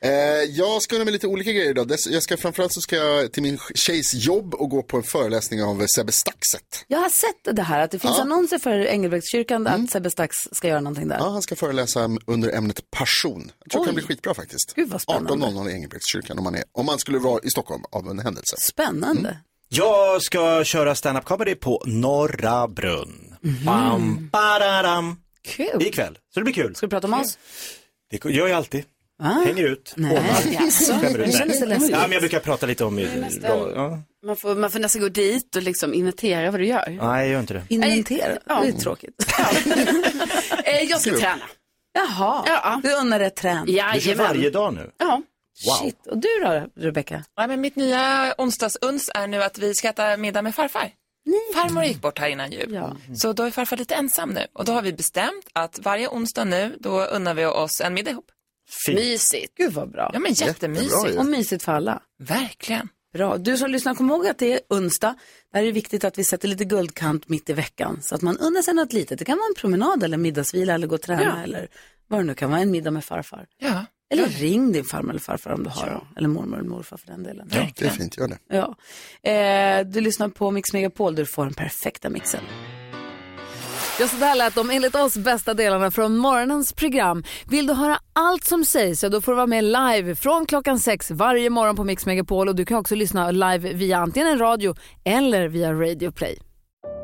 Speaker 8: Eh, jag ska unna mig lite olika grejer idag. Dess- Jag ska, framförallt så ska jag till min tjejs jobb och gå på en föreläsning av eh, Sebbe Staxet.
Speaker 2: Jag har sett det här att det finns
Speaker 8: Ja.
Speaker 2: annonser för Engelbrektskyrkan
Speaker 7: Mm.
Speaker 2: att Sebbe Stax ska göra någonting där.
Speaker 8: Ja, han ska föreläsa m- under ämnet passion. Jag tror det
Speaker 2: Oj.
Speaker 8: kan bli skitbra faktiskt.
Speaker 2: Gud, vad spännande.
Speaker 8: 18.00 i Engelbrektskyrkan om man, är, om man skulle vara i Stockholm av en händelse.
Speaker 2: Spännande.
Speaker 7: Mm.
Speaker 3: Jag ska köra stand-up comedy på Norra Brunn. Bam, bararam.
Speaker 2: Kul.
Speaker 3: Ikväll, så det blir kul.
Speaker 2: Ska du prata om oss?
Speaker 3: Det gör jag alltid. Hänger ut.
Speaker 2: Ah. Nej,
Speaker 3: ordnar.
Speaker 2: jaså.
Speaker 3: Skämmer ut.
Speaker 2: Det kändes så
Speaker 3: Nej.
Speaker 2: läskigt.
Speaker 3: ja, men Jag brukar prata lite om... Ja.
Speaker 7: Man får, man får nästan gå dit och liksom inventera vad du gör.
Speaker 3: Nej, jag gör inte det.
Speaker 2: Inventera?
Speaker 7: Ja.
Speaker 2: Det är tråkigt.
Speaker 7: Eh, jag ska
Speaker 3: Kul.
Speaker 7: träna.
Speaker 2: Jaha, du unnar dig träning.
Speaker 3: Du kör varje dag nu?
Speaker 7: Ja.
Speaker 3: Wow.
Speaker 2: Shit. Och du då Rebecca?
Speaker 28: Ja, men mitt nya onsdagsuns är nu att vi ska äta middag med farfar. Farmor gick bort här innan jul. Så då är farfar lite ensam nu. Och då har vi bestämt att varje onsdag nu, då unnar vi oss en middag ihop.
Speaker 2: Fint.
Speaker 7: Mysigt.
Speaker 2: Gud vad bra.
Speaker 28: Ja, men jättemysigt. Jättebra ju.
Speaker 2: Och mysigt för alla.
Speaker 28: Verkligen.
Speaker 2: Bra. Du som lyssnar, kom ihåg att det är onsdag. Där är det viktigt att vi sätter lite guldkant mitt i veckan. Så att man unnar sig något litet. Det kan vara en promenad eller middagsvila eller gå och träna
Speaker 28: Ja.
Speaker 2: eller vad det nu kan vara. En middag med farfar.
Speaker 28: Ja.
Speaker 2: Eller ring din farmor eller farfar om du har dem. Eller mormor eller morfar för den delen.
Speaker 8: Ja, det är fint, gör det.
Speaker 2: Ja. Eh, du lyssnar på Mix Megapol, du får den perfekta mixen.
Speaker 29: Ja, så där lät de enligt oss bästa delarna från morgonens program. Vill du höra allt som sägs så då får du vara med live från klockan sex varje morgon på Mix Megapol och du kan också lyssna live via antingen en radio eller via Radio Play.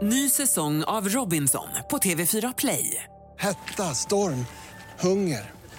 Speaker 10: Ny säsong av Robinson på TV4 Play.
Speaker 5: Hetta, storm, hunger.